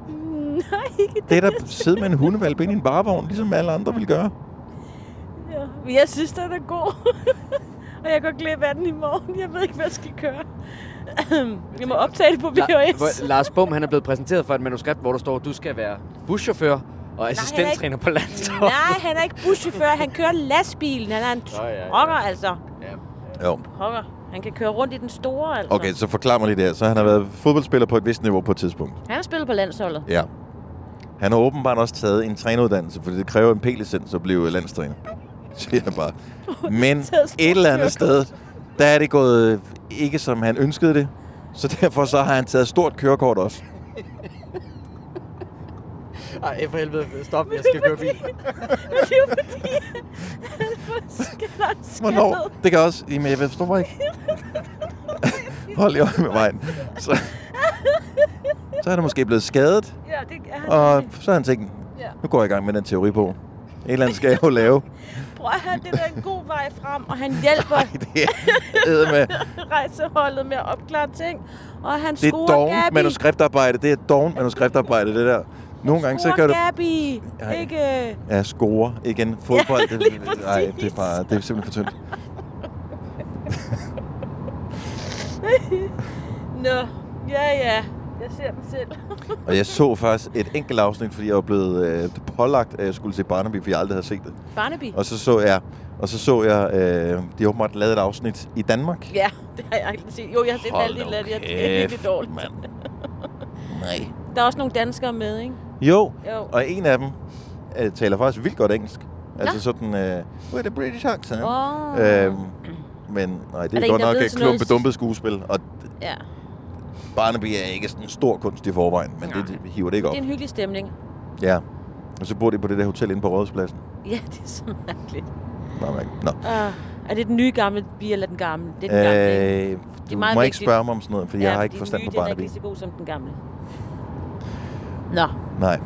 Mm, *laughs* Nej, ikke det.
Det er da at sidde med en hundevalp ind i en barevogn, ligesom alle andre vil gøre.
Ja. Men jeg synes, den er god. *laughs* og jeg går glip af den i morgen. Jeg ved ikke, hvad jeg skal gøre. *clears throat* jeg må optage det på VHS.
La- hvor- Lars Bum, han er blevet præsenteret for et manuskript, hvor der står, du skal være buschauffør og assistenttræner på landsholdet.
Nej, han er ikke buschauffør. Han kører lastbilen. Han er en
Nå, ja, ja.
rocker, altså.
Ja.
Jo.
Rocker. Han kan køre rundt i den store, altså.
Okay, så forklar mig lige det her. Så han har været fodboldspiller på et vist niveau på et tidspunkt.
Han har spillet på landsholdet.
Ja. Han har åbenbart også taget en træneruddannelse, fordi det kræver en P-licens at blive landstræner. *laughs* Siger jeg bare. Men et eller andet sted, der er det gået ikke som han ønskede det. Så derfor så har han taget stort kørekort også.
Ej, for helvede, stop, jeg skal køre bil.
Men det er jo fordi, *laughs* han får skadet.
Hvornår?
*laughs*
Det kan også... Jamen, jeg forstår mig ikke. Hold i øje med vejen.
*laughs*
Så, så er han måske blevet skadet,
Ja, det er han.
og så har han tænkt,
Ja.
nu går jeg i gang med den teori på. Et eller andet skal jeg jo lave.
Prøv at høre, det der er en god vej frem, og han hjælper
Det er med
*laughs* rejseholdet med at opklare ting. Og han
Det er
scorer
dovent
Gabi.
manuskriptarbejde. Det er dovent manuskriptarbejde, det der. Nogle gange, så
Scorer
kan du...
Gabi.
Ej.
Ikke? øh,
Ja, score igen. Fodbold.
*laughs* Ja,
Ja,
lige
det, nej, det
præcis.
er, bare, det er simpelthen for tyndt.
Nå, ja ja. Jeg ser den selv.
Og jeg så faktisk et enkelt afsnit, fordi jeg var blevet øh, pålagt, at jeg skulle se Barnaby, for jeg aldrig havde set det.
*laughs* Barnaby.
Og så så jeg, og så så jeg øh, de har åbenbart lavet et afsnit i Danmark.
Ja, det har jeg aldrig set. Jo, jeg har set
Hold
halvdelen af det.
nu
Jeg- Det er virkelig dårligt. *laughs*
mand. Nej.
Der er også nogle danskere med, ikke?
Jo,
Jo.
og en af dem øh, taler faktisk vildt godt engelsk. Altså
Nå.
sådan, øh, with a British accent.
Åh.
Øhm, men nej, det
der
er,
en,
er godt
der
nok
ved
et
sådan noget-
klumpe dumpet skuespil, og
Ja.
Barnaby er ikke sådan en stor kunst i forvejen, men det, det hiver det ikke op.
Det er en hyggelig stemning.
Ja. Og så bor de på det der hotel inde på Rådhuspladsen.
Ja, det er så mærkeligt.
Nå, mærkeligt. Nå.
Uh, er det den nye gamle bil eller den gamle? Det er den gamle, ikke?
Øh,
Det
du
er
må
meget
ikke
vigtigt.
spørge mig om sådan noget, for ja, jeg har
fordi
ikke
den
forstand
nye,
på
den er ikke
Barnaby.
lige så god som den gamle. Nå.
Nej.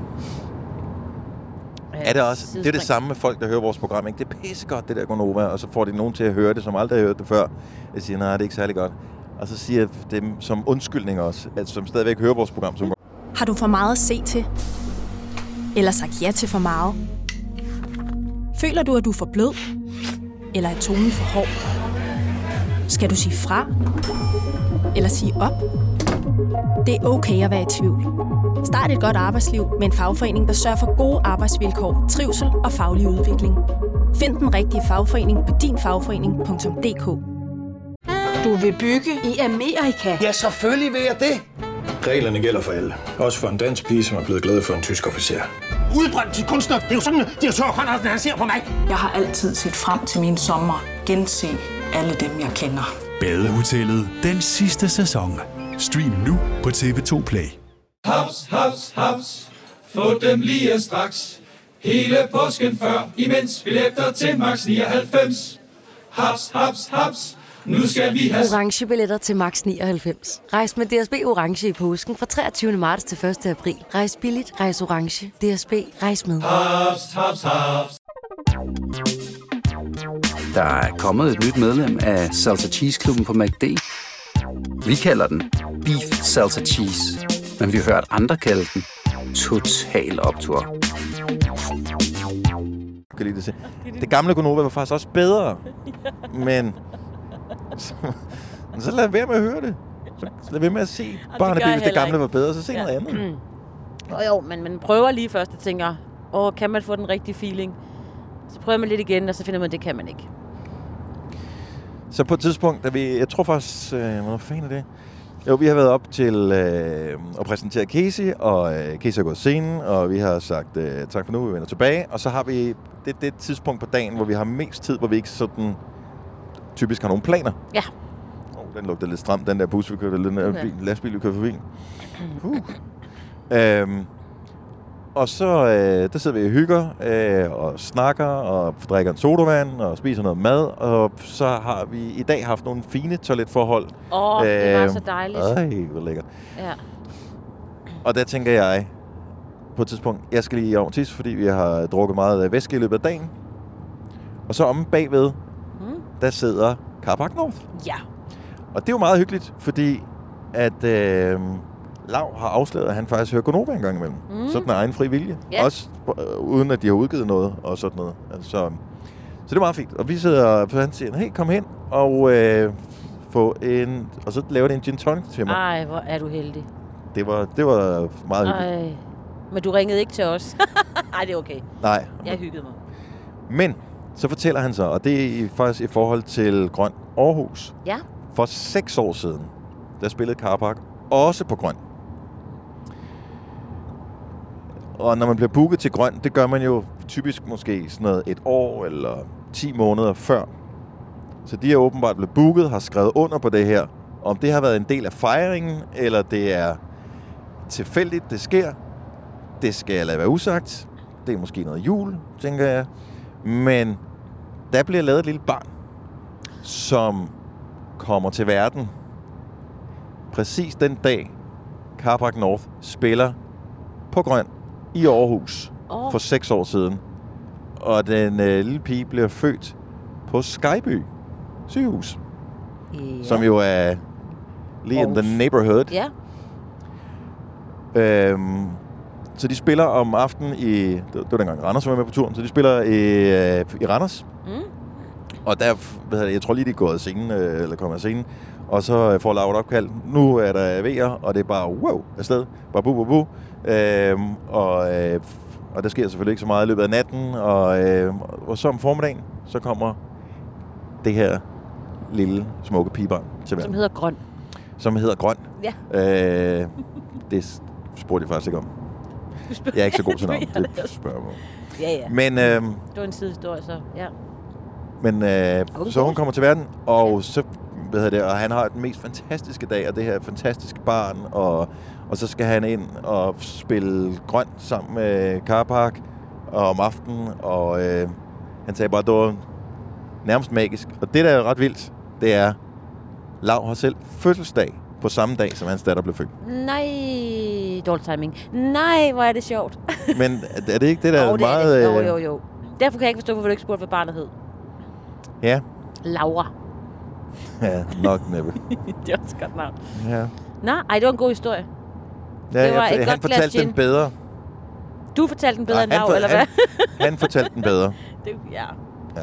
er det også, det er det samme med folk, der hører vores program. Ikke? Det er pissegodt, det der Gonova, og så får de nogen til at høre det, som aldrig har hørt det før. Jeg siger, nej, det er ikke særlig godt. Og så siger jeg dem som undskyldning også, at som stadigvæk hører vores program som
Har du for meget at se til? Eller sagt ja til for meget? Føler du, at du er for blød? Eller er tonen for hård? Skal du sige fra? Eller sige op? Det er okay at være i tvivl. Start et godt arbejdsliv med en fagforening, der sørger for gode arbejdsvilkår, trivsel og faglig udvikling. Find den rigtige fagforening på dinfagforening.dk
Du vil bygge i Amerika?
Ja, selvfølgelig vil jeg det.
Reglerne gælder for alle. Også for en dansk pige, som er blevet glad for en tysk officer.
Udbrændt til kunstner. Det er jo sådan, at de har tørt, han ser på mig.
Jeg har altid set frem til min sommer. Gense alle dem, jeg kender.
Badehotellet den sidste sæson. Stream nu på TV2 Play.
Haps, haps, haps. Få dem lige straks. Hele påsken før, imens billetter til max 99. Haps, haps, haps. Nu skal vi have...
Orange billetter til max 99. Rejs med DSB Orange i påsken fra 23. marts til 1. april. Rejs billigt, rejs orange. DSB, rejs med.
Haps, haps, haps.
Der er kommet et nyt medlem af Salsa Cheese Klubben på MACD. Vi kalder den Beef Salsa Cheese. Men vi har hørt andre kalde den Total Optor.
Jeg kan lide det,
*laughs*
se. det gamle Gonova var faktisk også bedre. Men så, så lad være med at høre det. Så lad være med at se
det gør
Barnaby,
jeg
hvis det
heller
gamle
ikke.
var bedre. Så se
Ja.
noget andet.
Jo, jo, men man prøver lige først og tænker, åh, kan man få den rigtige feeling? Så prøver man lidt igen, og så finder man, at det kan man ikke.
Så på et tidspunkt, da vi, jeg tror faktisk, øh, hvad fanden er det? Jo, vi har været op til øh, at præsentere Casey, og øh, Casey er gået scenen, og vi har sagt øh, tak for nu, vi vender tilbage. Og så har vi det, det tidspunkt på dagen, hvor vi har mest tid, hvor vi ikke sådan typisk har nogen planer.
Ja.
Oh, den lugter lidt stramt, den der bus, vi kørte, eller den der
Okay.
bil, lastbil, vi kørte
*clears throat*
forbi. Uh. Øhm, og så øh, der sidder vi og hygger øh, og snakker og drikker en sodavand og spiser noget mad. Og så har vi i dag haft nogle fine toiletforhold. Øhm,
Åh, det var så dejligt.
Ej, hvor lækkert.
Ja.
Og der tænker jeg på et tidspunkt, jeg skal lige over tisse, fordi vi har drukket meget øh, væske i løbet af dagen. Og så omme bagved,
Mm.
der sidder Carpark North.
Ja.
Og det er jo meget hyggeligt, fordi at øh, Lav har afsløret, at han faktisk hører Gonova en gang imellem.
Mm.
Mm. Sådan af egen fri vilje.
Ja.
Også øh, uden at de har udgivet noget og sådan noget. Altså, så det er meget fint. Og vi sidder, så han siger, hey, kom hen og øh, få en... Og så laver det en gin tonic til mig.
Ej, hvor er du heldig.
Det var, det var meget hyggeligt.
Ej. Men du ringede ikke til os. *laughs* Nej, det er okay.
Nej.
Jeg hyggede mig.
Men så fortæller han så, og det er i- faktisk i forhold til Grøn Aarhus.
Ja.
For seks år siden, der spillede Carpark også på Grøn. Og når man bliver booket til Grøn, det gør man jo typisk måske sådan noget et år eller 10 måneder før. Så de er åbenbart blevet booket, har skrevet under på det her. Om det har været en del af fejringen, eller det er tilfældigt, det sker, det skal jeg lade være usagt. Det er måske noget jul, tænker jeg. Men der bliver lavet et lille barn, som kommer til verden. Præcis den dag, Carpark North spiller på Grøn i Aarhus
Åh.
oh. for seks år siden. Og den øh, lille pige bliver født på Skyby sygehus,
Ja.
ja. som jo er lige in
Aarhus.
the neighborhood.
Ja.
Øhm, så de spiller om aftenen i... Det var, det var dengang Randers var med på turen. Så de spiller i, øh, i Randers.
Mm.
Og der, hvad hedder det, jeg tror lige, de er gået af scenen, øh, eller kommet af scenen. Og så øh, får Laura et opkald. Nu er der VR, og det er bare wow afsted. Bare bu, bu, bu. Øhm, og, øh, og der sker selvfølgelig ikke så meget i løbet af natten. Og, øh, og så om formiddagen, så kommer det her lille, smukke pigebarn til
Som
verden,
hedder Grøn.
som hedder Grøn.
Ja.
Øh, det s- spurgte jeg faktisk ikke om. Jeg er ikke så god *laughs* til navn. Det spørger jeg mig.
Ja, ja.
Men, øh,
Det var en sidehistorie, så ja.
men
Okay.
øh, så hun kommer til verden, og så hvad hedder det, og han har den mest fantastiske dag, og det her fantastiske barn, og, og så skal han ind og spille grøn sammen med Carpark og om aftenen, og øh, han sagde bare, det var nærmest magisk. Og det, der er ret vildt, det er, Lav har selv fødselsdag på samme dag, som hans datter blev født.
Nej, dårlig timing. Nej, hvor er det sjovt.
Men er det ikke det, der
Jo,
er
det
meget...
Er det.
øh,
Jo, jo, jo. Derfor kan jeg ikke forstå, hvorfor du ikke spurgte, hvad barnet hed.
Ja,
Laura.
ja nok næppe.
*laughs* det er også et godt navn.
Ja.
Nå, ej, det var en god historie.
Ja,
Det var
jeg,
et godt
han
glas
fortalte den
gin.
bedre.
Du fortalte den bedre
Nej,
end Lav,
for-
eller hvad? *laughs*
*laughs* Han, han fortalte den bedre.
Det, ja.
Ja.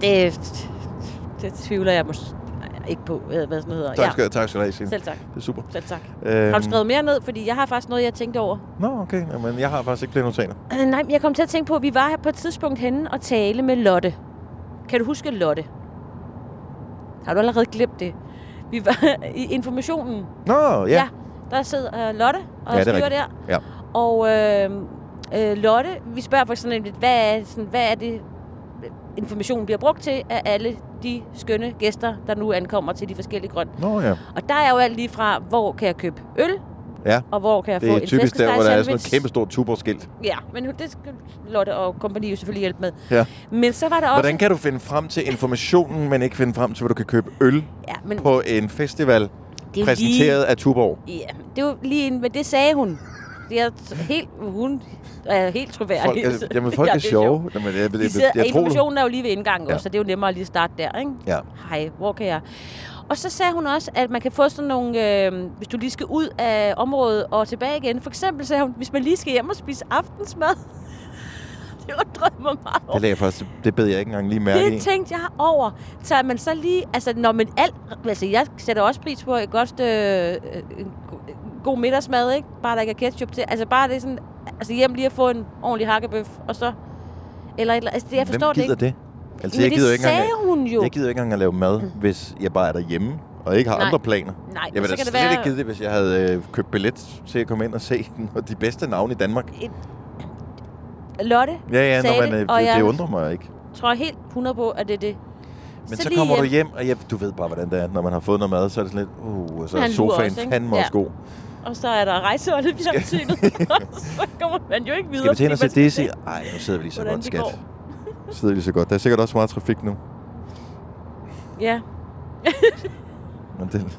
Det, det tvivler jeg måske ikke på, øh, hvad hvad sådan hedder.
Tak skal, tak skal du have, Signe.
Selv tak.
Det er super.
Selv tak. Øhm.
Øhm.
Har du skrevet mere ned? Fordi jeg har faktisk noget, jeg tænkte over.
Nå, okay. Jamen, jeg har faktisk ikke flere notater.
Øh, nej, men jeg kom til at tænke på, at vi var her på et tidspunkt henne og tale med Lotte. Kan du huske Lotte? Har du allerede glemt det? Vi var *laughs* i informationen.
Nå, ja.
ja der sidder øh, Lotte og
ja, det er
styrer
rigtigt.
der.
Ja.
Og øh, øh, Lotte, vi spørger for eksempel, lidt, hvad er, sådan, hvad er det, øh, informationen bliver brugt til af alle de skønne gæster, der nu ankommer til de forskellige grønne.
Nå ja.
Og der er jo alt lige fra, hvor kan jeg købe øl,
Ja.
og hvor kan jeg
det
få
er
en
typisk der, hvor der er sådan et
flæskesteg-sandwich?
kæmpe stort tuborgskilt.
Ja, men det skal Lotte og kompagni jo selvfølgelig hjælpe med.
Ja.
Men så var der også...
Hvordan kan du finde frem til informationen, men ikke finde frem til, hvor du kan købe øl
Ja, men-
på en festival
er jo
præsenteret
lige-
af Tuborg?
Ja, det var lige en, men det sagde hun. Det er t- helt, hun er helt
Folk
troværdig.
er, jamen, folk
*laughs* Ja,
er
det
sjove. Jamen, jeg, jeg,
De
jeg,
sidder,
jeg, tror, du-
informationen er jo lige ved indgangen ja.
Ja.
også, så det er jo nemmere at lige starte der, ikke?
Ja.
Hej, hvor kan jeg? Og så sagde hun også, at man kan få sådan nogle, øh, hvis du lige skal ud af området og tilbage igen. For eksempel sagde hun, hvis man lige skal hjem og spise aftensmad. *laughs* det undrede mig meget over.
det, lagde jeg faktisk, det bed jeg ikke engang lige mærke i.
Det tænkte jeg over. Tager man så lige... Altså, når man alt... Altså, jeg sætter også pris på et godt... Øh, en go- en god middagsmad, ikke? Bare der ikke er ketchup til. Altså, bare det er sådan... Altså, hjem lige at få en ordentlig hakkebøf, og så... Eller, et eller altså, det, jeg forstår
Hvem gider
det ikke.
det? Altså,
Men
jeg
det
gider jo ikke engang,
sagde hun jo. Mm.
Jeg gider jo ikke engang at lave mad, hvis jeg bare er derhjemme og ikke har
Nej.
andre planer.
Nej,
jeg
men
ville
så
da
kan det
slet
være-
ikke gide det, hvis jeg havde øh, købt billet til at komme ind og se *laughs* den, og de bedste navne i Danmark.
Lotte
Ja, ja,
sagde
når man,
det,
øh,
og
det
jeg
undrer mig ikke.
tror helt 100 på, at det er det.
Men så,
lige øh,
kommer du hjem, og jeg, du ved bare, hvordan det er. Når man har fået noget mad, så er det sådan lidt, uh, og så er
Han lurer
sofaen
også, ikke?
fandme
Ja.
også god.
Og så er der rejseholdet
*laughs*
i *laughs* fjernsynet. så kommer man jo ikke videre.
Skal vi til hen og se
fordi man
Dizzy? Ej, nu sidder vi lige så
hvordan
godt,
det
skat.
går.
Nu sidder vi lige så godt. Der er sikkert også meget trafik nu.
Ja.
Men det,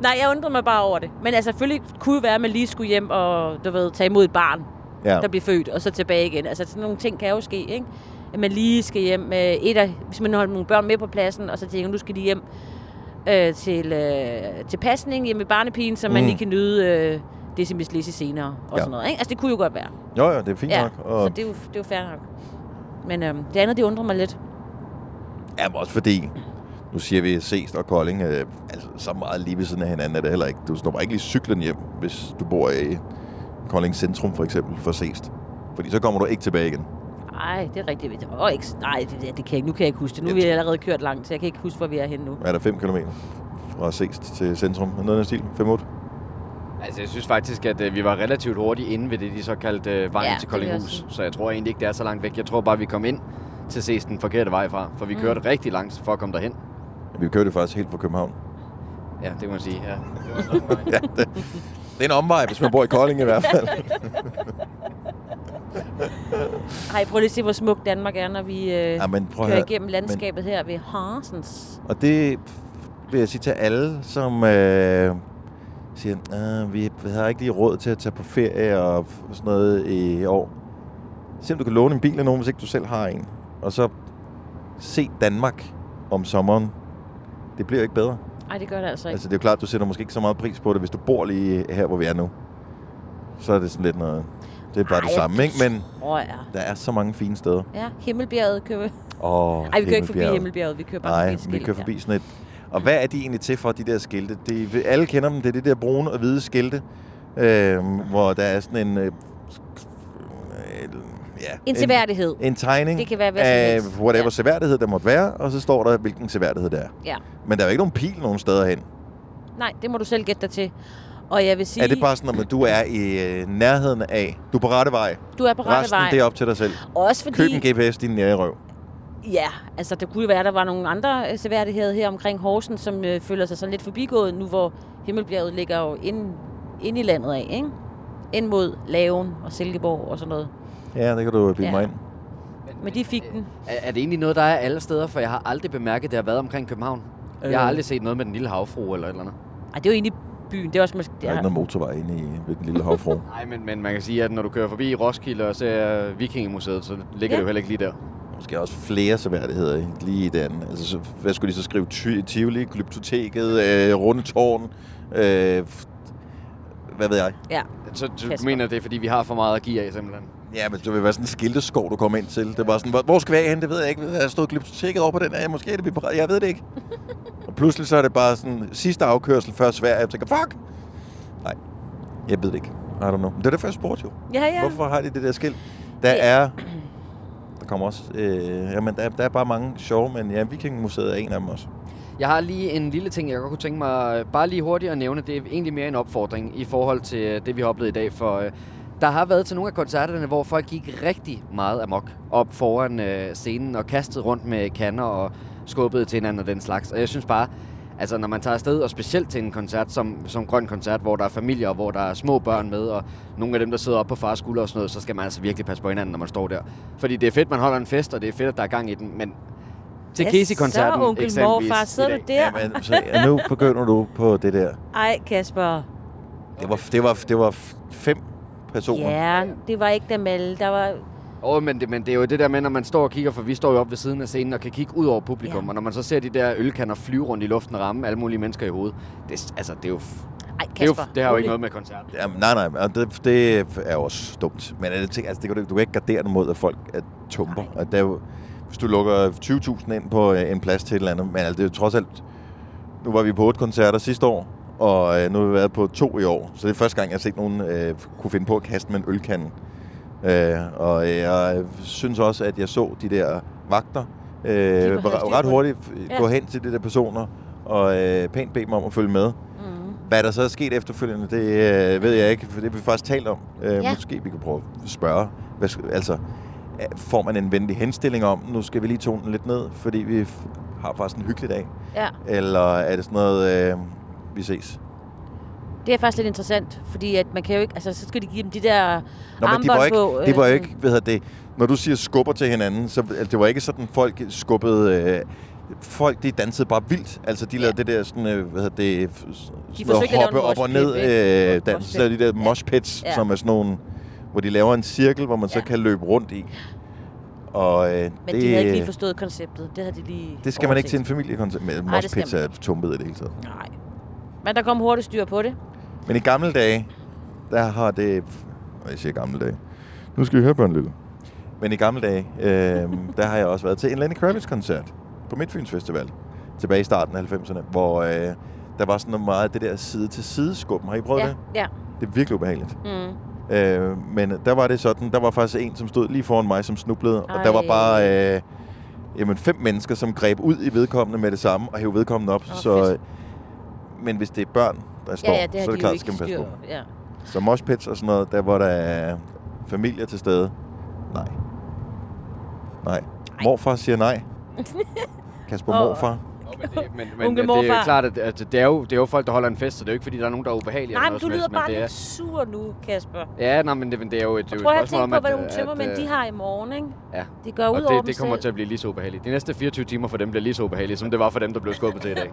Nej, jeg undrede mig bare over det. Men altså, selvfølgelig kunne det være, at man lige skulle hjem og du ved, tage imod et barn,
Ja.
der bliver født, og så tilbage igen. Altså, sådan nogle ting kan jo ske, ikke? At man lige skal hjem med et af, hvis man har nogle børn med på pladsen, og så tænker, nu skal de hjem øh, til, øh, til pasning hjemme med barnepigen, så man
Mm.
lige kan nyde øh, Decimus Lizzie senere og
Ja.
sådan noget, ikke? Altså, det kunne jo godt være.
jo, jo, det er fint
ja,
nok.
så det er, jo, det er jo fair nok. Men øh, det andet, det undrer mig lidt.
Jamen også fordi, nu siger vi ses og Kolding, øh, altså så meget lige ved siden af hinanden er det heller ikke. Du snupper ikke lige cyklen hjem, hvis du bor i Kolding Centrum for eksempel, for sest. Fordi så kommer du ikke tilbage igen.
Nej, det er rigtigt. Åh, ikke, nej, det, det, kan jeg ikke. Nu kan jeg ikke huske det. Nu har vi allerede kørt langt, så jeg kan ikke huske, hvor vi er henne nu.
Er der 5 km fra sest til centrum? Noget af den stil? 5-8?
*laughs* Altså, jeg synes faktisk, at øh, vi var relativt hurtigt inde ved det, de såkaldte øh, vejen
Ja,
til
det vil jeg
Koldinghus.
også
Så jeg tror egentlig ikke, det er så langt væk. Jeg tror bare, vi kom ind til at ses den forkerte vej fra. For vi
Mm.
kørte rigtig langt for at komme derhen.
Vi kørte faktisk helt fra København.
Ja, det kan man sige, ja.
ja, det, det er en omvej, hvis man bor i Kolding i hvert
*laughs*
fald.
Ej, prøv lige at se, hvor smukt Danmark er, når vi øh, ja,
men prøv at
kører
høre,
igennem
men-
landskabet men... her ved Harsens.
Og det vil jeg sige til alle, som øh, siger, øh, vi har ikke lige råd til at tage på ferie og f- sådan noget i år. Se om du kan låne en bil af nogen, hvis ikke du selv har en. Og så se Danmark om sommeren. Det bliver jo ikke bedre.
Ej, det gør det altså ikke.
Altså, det er jo klart, du sætter måske ikke så meget pris på det, hvis du bor lige her, hvor vi er nu. Så er det sådan lidt noget... Det er bare Ej, det
Ej,
samme,
det
ikke? Men
tror jeg.
der er så mange fine steder.
Ja, Himmelbjerget kører vi. *laughs*
Åh,
Ej, vi kører ikke forbi Himmelbjerget, vi kører bare
Nej,
forbi et
vi
skilt,
kører
ja.
forbi sådan et... Og hvad er de egentlig til for, de der skilte? De, alle kender dem, det er det der brune og hvide skilte, øh, hvor der er sådan en... Øh, øh, ja,
En seværdighed.
En, en tegning
Det kan være hvad som
af
helst.
whatever
Ja.
ja. seværdighed der måtte være, og så står der, hvilken seværdighed der er.
Ja.
Men der er jo ikke nogen pil nogen steder hen.
Nej, det må du selv gætte dig til. Og jeg vil sige,
Er det bare sådan, at du er i øh, nærheden af... Du er på rette vej.
Du er på rette
Resten,
vej.
det er op til dig selv.
Også fordi-
Køb en GPS, din nære røv.
ja, altså det kunne jo være, at der var nogle andre øh, seværdigheder her omkring Horsen, som øh, føler sig sådan lidt forbigået nu, hvor Himmelbjerget ligger jo inde, inde i landet af, ikke? Ind mod Laven og Silkeborg og sådan noget.
Ja, det kan du bilde
Ja.
ja. mig ind.
Men de
øh,
fik den.
Er, er det egentlig noget, der er alle steder? For jeg har aldrig bemærket, at det har været omkring København. Jeg har
Øh.
aldrig set noget med den lille havfru eller et eller andet.
Ej, det er jo egentlig byen. Det er også måske...
Der er ikke noget motorvej inde i ved den lille havfru.
Nej, men, men man kan sige, at når du kører forbi Roskilde og ser Vikingemuseet, så ligger ja. det jo heller ikke lige der.
Måske også flere seværdigheder ikke? lige i den. Altså, så, hvad skulle de så skrive? Ty- Tivoli, Glyptoteket, øh, Rundetårn, øh, f- hvad ved jeg?
Ja.
Så du
Kasper.
mener, det er, fordi vi har for meget at give af, simpelthen?
Ja, men det vil være sådan en skilteskov, du kommer ind til. Det var sådan, hvor- hvor skal vi af hen? Det ved jeg ikke. Jeg har stået glyptoteket over på den her. Måske er det vi er på vej. Jeg ved det ikke. og pludselig så er det bare sådan sidste afkørsel før Sverige. Jeg tænker, fuck! Nej, jeg ved det ikke. I don't know. Men Det er derfor, jeg spurgte jo.
Ja, ja.
Hvorfor har de det der skilt? Der er... Der kommer også... Øh, jamen, der, der er bare mange sjove, men ja, Vikingmuseet er en af dem også.
Jeg har lige en lille ting, jeg godt kunne tænke mig øh, bare lige hurtigt at nævne. Det er egentlig mere en opfordring i forhold til øh, det, vi har oplevet i dag. For øh, der har været til nogle af koncerterne, hvor folk gik rigtig meget amok op foran øh, scenen og kastede rundt med kander og skubbede til hinanden og den slags. Og jeg synes bare, altså når man tager afsted, og specielt til en koncert som, som Grøn Koncert, hvor der er familier, og hvor der er små børn med, og nogle af dem, der sidder oppe på fars skulder og sådan noget, så skal man altså virkelig passe på hinanden, når man står der. Fordi det er fedt, man holder en fest, og det er fedt, at der er gang i den, men til
Ja,
Casey-koncerten
så, onkel
eksempelvis
morfar,
i
sidder
dag.
du der?
Jamen, så, ja, nu begynder du på det der.
Ej, Kasper.
Det var, det var, det var f- fem personer.
Ja, det var ikke dem alle. Der var...
Åh, oh, men, det, men det er jo det der med, når man står og kigger, for vi står jo op ved siden af scenen og kan kigge ud over publikum,
Ja.
og når man så ser de der ølkander flyve rundt i luften og ramme alle mulige mennesker i hovedet, det, er- altså, det er jo... f-
Ej,
det, er jo,
Kasper,
f- det har jo
rolig.
ikke noget med koncert.
Jamen, nej, nej, men det, det er jo også dumt. Men er det ting, altså, det kan du, du kan ikke gardere dem mod, at folk er tumper. Og det er jo, hvis du lukker 20.000 ind på øh, en plads til et eller andet, men altså, det er jo trods alt... Nu var vi på otte koncerter sidste år, og øh, nu har vi været på to i år. Så det er første gang, jeg har set nogen øh, kunne finde på at kaste med en ølkande. Øh, og øh, jeg synes også, at jeg så de der vagter øh,
havde styr på
ret
det.
hurtigt
Ja.
gå hen til de der personer og øh, pænt bede dem om at følge med.
Mm.
Hvad der så er sket efterfølgende, det øh, ved jeg ikke, for det har vi faktisk talt om. Øh,
Ja.
ja. Måske vi kan prøve at spørge. Hvad, sk- altså, øh, får man en venlig henstilling om, nu skal vi lige tone den lidt ned, fordi vi f- har faktisk en hyggelig dag?
Ja.
Eller er det sådan noget, øh, vi ses?
Det er faktisk lidt interessant, fordi at man kan jo ikke... Altså, så skal de give dem de der
Nå, men det
armbånd
var ikke,
på. øh,
det var jo
sådan-
ikke, hvad hedder det, når du siger skubber til hinanden, så altså, det var ikke sådan, folk skubbede, øh, folk de dansede bare vildt. Altså de lavede det der sådan, øh, hvad hedder det, f- sådan noget
forsøgte at lave en
hoppe op og
moshpit,
ned
ikke?
øh, dans. Så lavede de der moshpits,
Ja.
ja. som er sådan nogle, hvor de laver en cirkel, hvor man så kan løbe rundt i. Og øh,
Men
det,
de havde ikke lige forstået konceptet. Det havde de lige...
det skal man ikke til en
overset.
familiekoncert. Men
Nej, det skal
moshpits
man
er tumpet i det hele taget.
Nej. Men der kom hurtigt styr på det.
Men i gamle dage, der har det... Og jeg siger gamle dage. Nu skal vi høre Børn Lille. Men i gamle dage, øh, der har jeg også været til en Lenny Kravitz-koncert på Midtfyns Festival. Tilbage i starten af 90'erne, hvor øh, der var sådan noget meget af det der side-til-side-skubben. Har I prøvet
ja,
det?
ja.
Det er virkelig ubehageligt.
Mm.
Øh, men der var det sådan, der var faktisk en, som stod lige foran mig, som snublede, Ej. og der var
Ej.
bare øh, jamen, fem mennesker, som greb ud i vedkommende med det samme og hævde vedkommende op. Oh, så, øh, men hvis det er børn, der står,
ja, det
så er
har de jo
det klart,
ikke
skal man passe
styr-
på.
ja.
Så moshpits og sådan noget, der hvor der er familier til stede, nej. Nej. Morfar siger *laughs* nej. Kasper
Åh.
morfar.
Men, men
Onkel
det er jo
morfar.
klart, at, at det, er jo, det er jo folk, der holder en fest, så det er jo ikke, fordi der er nogen, der er ubehagelige.
Nej,
eller
men
noget
du
som
lyder
helst, men
bare lidt
det
sur nu, Kasper.
er, Ja, nej, men det, men det er jo et, det er jo et
Prøv at
spørgsmål
tænke
om,
på,
at...
hvad nogle tømmermænd
øh,
de har i morgen, ikke?
Ja.
Det går ud
og
over
det,
dem
det kommer
selv.
til at blive lige så ubehageligt. De næste 24 timer for dem bliver lige så ubehagelige, som det var for dem, der blev skubbet til i dag.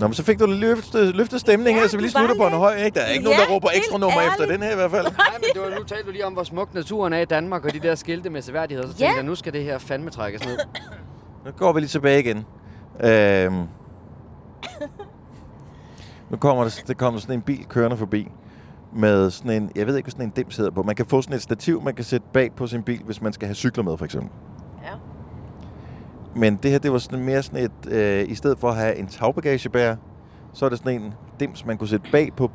Nå, men så fik du løftet, løftet stemning ja, her, så vi lige slutter på en høj, ikke? Der er ikke ja, nogen, der råber ekstra nummer efter den her i hvert *laughs* fald.
Nej, men det var, nu talte du lige om, hvor smuk naturen er i Danmark, og de der skilte med seværdigheder. Så tænkte
Ja.
jeg, nu skal det her fandme trækkes ned.
Nu går vi lige tilbage igen. Øhm. Nu kommer der, der kommer sådan en bil kørende forbi med sådan en, jeg ved ikke, hvad sådan en dims hedder på. Man kan få sådan et stativ, man kan sætte bag på sin bil, hvis man skal have cykler med, for eksempel.
Ja.
Men det her, det var sådan mere sådan et, øh, i stedet for at have en tagbagagebærer, så er det sådan en dims, man kunne sætte bag på,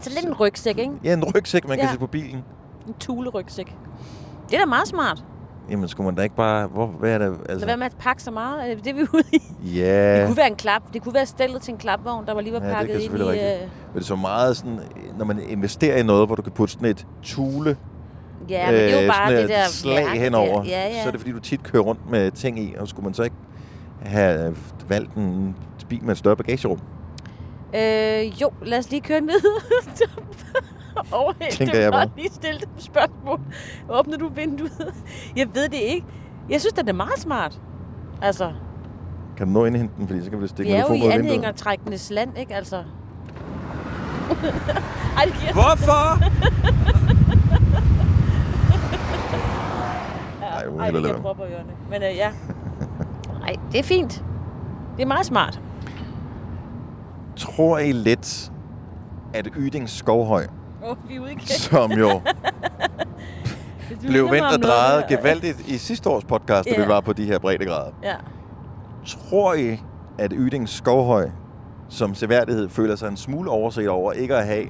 Så lidt en rygsæk, ikke?
ja, en rygsæk, man ja.
Ja.
kan sætte på bilen.
En tulerygsæk. Det er da meget smart.
Jamen, skulle man da ikke bare, hvor, hvad er det,
Altså.
altså,
Lad være med at pakke så meget. Er det det, vi *laughs* er ude i?
ja.
Det kunne være en klap. Det kunne være stillet til en klapvogn, der var lige var
Ja, det
pakket
kan
ind i...
selvfølgelig rigtigt.
øh,
Men det er så meget sådan, når man investerer i noget, hvor du kan putte sådan et tule øh,
øh, Ja, men det er jo bare
sådan
det
et
der
slag
værk
henover,
der. Ja, ja.
så er det fordi, du tit kører rundt med ting i, og skulle man så ikke have valgt en bil med et større bagagerum?
Øh, jo, lad os lige køre ned. *laughs* Overhæld
Tænker
dem
jeg
og
bare.
lige stille dem spørgsmål. Åbner *laughs* du vinduet? Jeg ved det ikke. Jeg synes, det er meget smart. Altså,
Kan du nå ind i hente den, fordi så kan vi stikke
Vi er jo i
mikrofonen ud vinduet.
anhængertrækkenes land, ikke altså? *laughs* Ej, det giver *laughs*
Hvorfor?
Ej,
hvor
Ej,
hælder
det
det.
giver propper i ørerne. Men øh,
*laughs*
ja. Ej, det er fint. Det er meget smart.
Tror I lidt, at Ydings Skovhøj,
Åh, oh, vi er ude igen. *laughs*
som jo
Hvis du minder
blev
mig
vendt
om
og
noget-
drejet gevaldigt i sidste års podcast, da
Ja.
vi var på de her breddegrader.
Ja.
Tror I, at Ydings Skovhøj som seværdighed føler sig en smule overset over ikke at have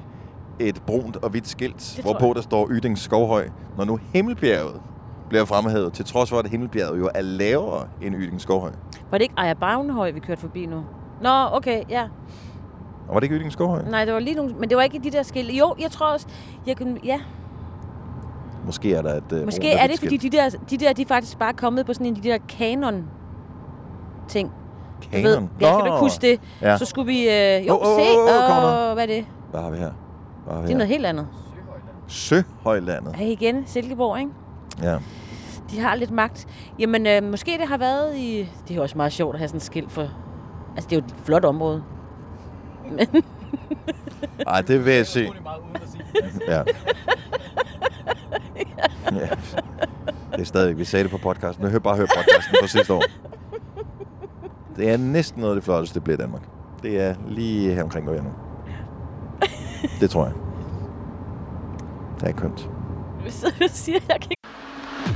et brunt og hvidt skilt,
tror
hvorpå
jeg.
der står Ydings Skovhøj, når nu Himmelbjerget bliver fremhævet, til trods for, at Himmelbjerget jo er lavere end Ydings Skovhøj.
Var det ikke Ejer Bagnhøj, vi kørte forbi nu? Nå, okay, ja.
Og var det ikke Ydings Skovhøj?
Nej, det var lige nogle... Men det var ikke i de der skilte. Jo, jeg tror også... Jeg kunne, ja,
Måske er der et øh,
Mm. Måske
brunt og
er
hvidt
det, fordi
skilt.
de der, de der, de er faktisk bare kommet på sådan en af de der kanon-ting. Du
Kanon?
ja, kan du ikke
Nå.
huske det?
Ja.
Ja. Så skulle vi... Øh, jo,
Åh, åh, åh,
se,
åh, kom
og hvad er det?
Hvad har vi her? Hvad har vi
Det er noget helt andet.
Søhøjlandet.
Ja, igen, Silkeborg, ikke?
Ja.
De har lidt magt. Jamen, øh, måske det har været i... Det er også meget sjovt at have sådan et skilt for... Altså, det er jo et flot område. *laughs* Men...
Ej, det vil jeg se. Ja. ja. Det er stadigvæk, vi sagde det på podcasten. Nu hør bare hør podcasten fra sidste år. Det er næsten noget af det flotteste, det bliver i Danmark. Det er lige her omkring, hvor jeg er nu. Det tror jeg. Det er kønt.
Så siger jeg, jeg kan ikke...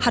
Har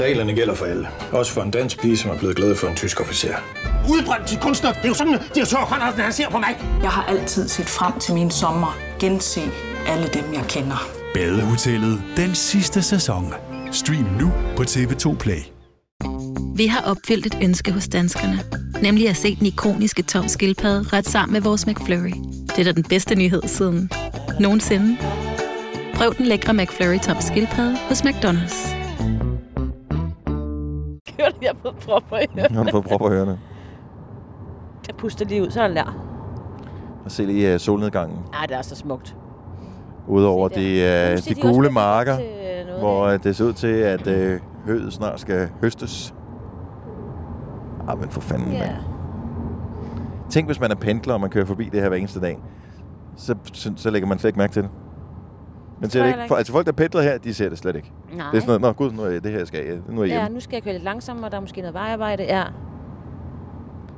Reglerne gælder for alle. Også for en dansk pige, som er blevet glad for en tysk officer.
Udbrændt til kunstner. Det er jo sådan, at de har tørt, Conradsen, han ser på mig.
Jeg har altid set frem til min sommer, gense alle dem, jeg kender.
Badehotellet den sidste sæson. Stream nu på TV2 Play.
Vi har opfyldt et ønske hos danskerne. Nemlig at se den ikoniske tom skildpadde ret sammen med vores McFlurry. Det er da den bedste nyhed siden nogensinde. Prøv den lækre McFlurry tom skildpadde hos McDonald's.
Hørte jeg på propper i
Nu har du fået propper i ørerne.
Jeg puster lige ud, så er den der.
Og se lige uh, solnedgangen.
Ej, det er så smukt.
Udover de,
Nu
øh,
siger
de
de også,
gule
at det er
marker,
til noget
hvor øh, det ser ud til, at øh, høet snart skal høstes. Ah, men for fanden, yeah. mand. Tænk, hvis man er pendler, og man kører forbi det her hver eneste dag. Så, så, så lægger man slet ikke mærke til det. Men ser
jeg
det
heller
ikke. For,
ikke.
altså folk, der pendler her, de ser det slet ikke.
Nej.
Det er sådan noget, nå gud, nu er jeg, det her skal jeg, nu er jeg
Ja,
hjemme.
nu skal jeg køre lidt langsommere, der er måske noget vejarbejde, ja.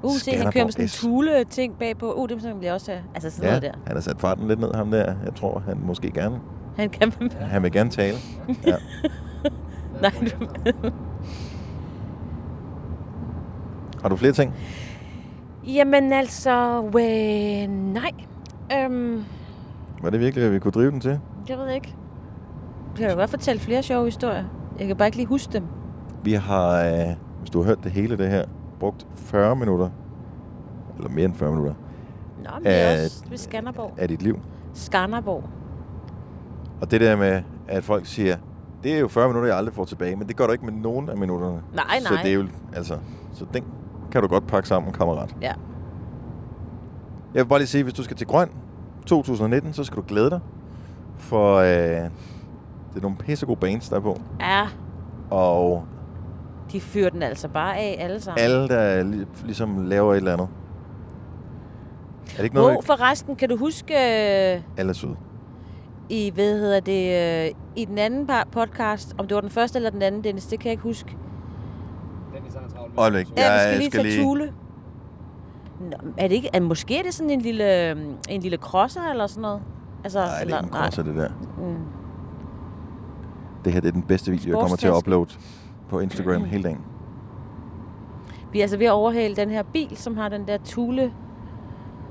Uh, se, han
Skanderborg
kører med sådan en
S.
tule-ting bagpå. Uh, det vil jeg også have. Altså sådan
Ja,
noget der.
han har sat farten lidt ned, ham der. Jeg tror, han måske gerne.
Han kan... *laughs*
Han vil gerne tale. Ja.
Nej, du...
Har du flere ting?
Jamen altså, øh, nej. Øhm,
Var det virkelig, at vi kunne drive den til?
jeg ved ikke. Jeg kan da godt fortælle flere sjove historier. Jeg kan bare ikke lige huske dem.
Vi har, øh, hvis du har hørt det hele det her, brugt 40 minutter, eller mere end 40 minutter,
Nå, men det er
Af-
også ved Skanderborg.
af dit liv.
Skanderborg.
Og det der med, at folk siger, det er jo 40 minutter, jeg aldrig får tilbage, men det gør du ikke med nogen af minutterne.
Nej,
Så
nej.
det er jo, altså, så den kan du godt pakke sammen, kammerat.
Ja.
Jeg vil bare lige sige, hvis du skal til Grøn 2019, så skal du glæde dig, for øh, det er nogle pissegode bands, der er på.
Ja,
Og
de fyrer den altså bare af alle sammen.
alle, der li- ligesom laver et eller andet. Er det ikke noget,
Hvor forresten, kan du huske øh,
alle er søde?
i, hvad hedder det, øh, i den anden par podcast, om det var den første eller den anden, Dennis, det kan jeg ikke huske.
Øjeblik,
Ja, vi
jeg
skal lige tage Thule. Nå, Er det ikke, er, måske er det sådan en lille, øhm, en lille crosser eller sådan noget? Altså,
Nej, det
eller,
er ikke en crosser, det der.
Mm.
Det her det er den bedste video, jeg kommer til at
Sportstaske.
uploade på
Mm.
Instagram hele dagen.
Vi er altså ved at overhale den her bil, som har den der tule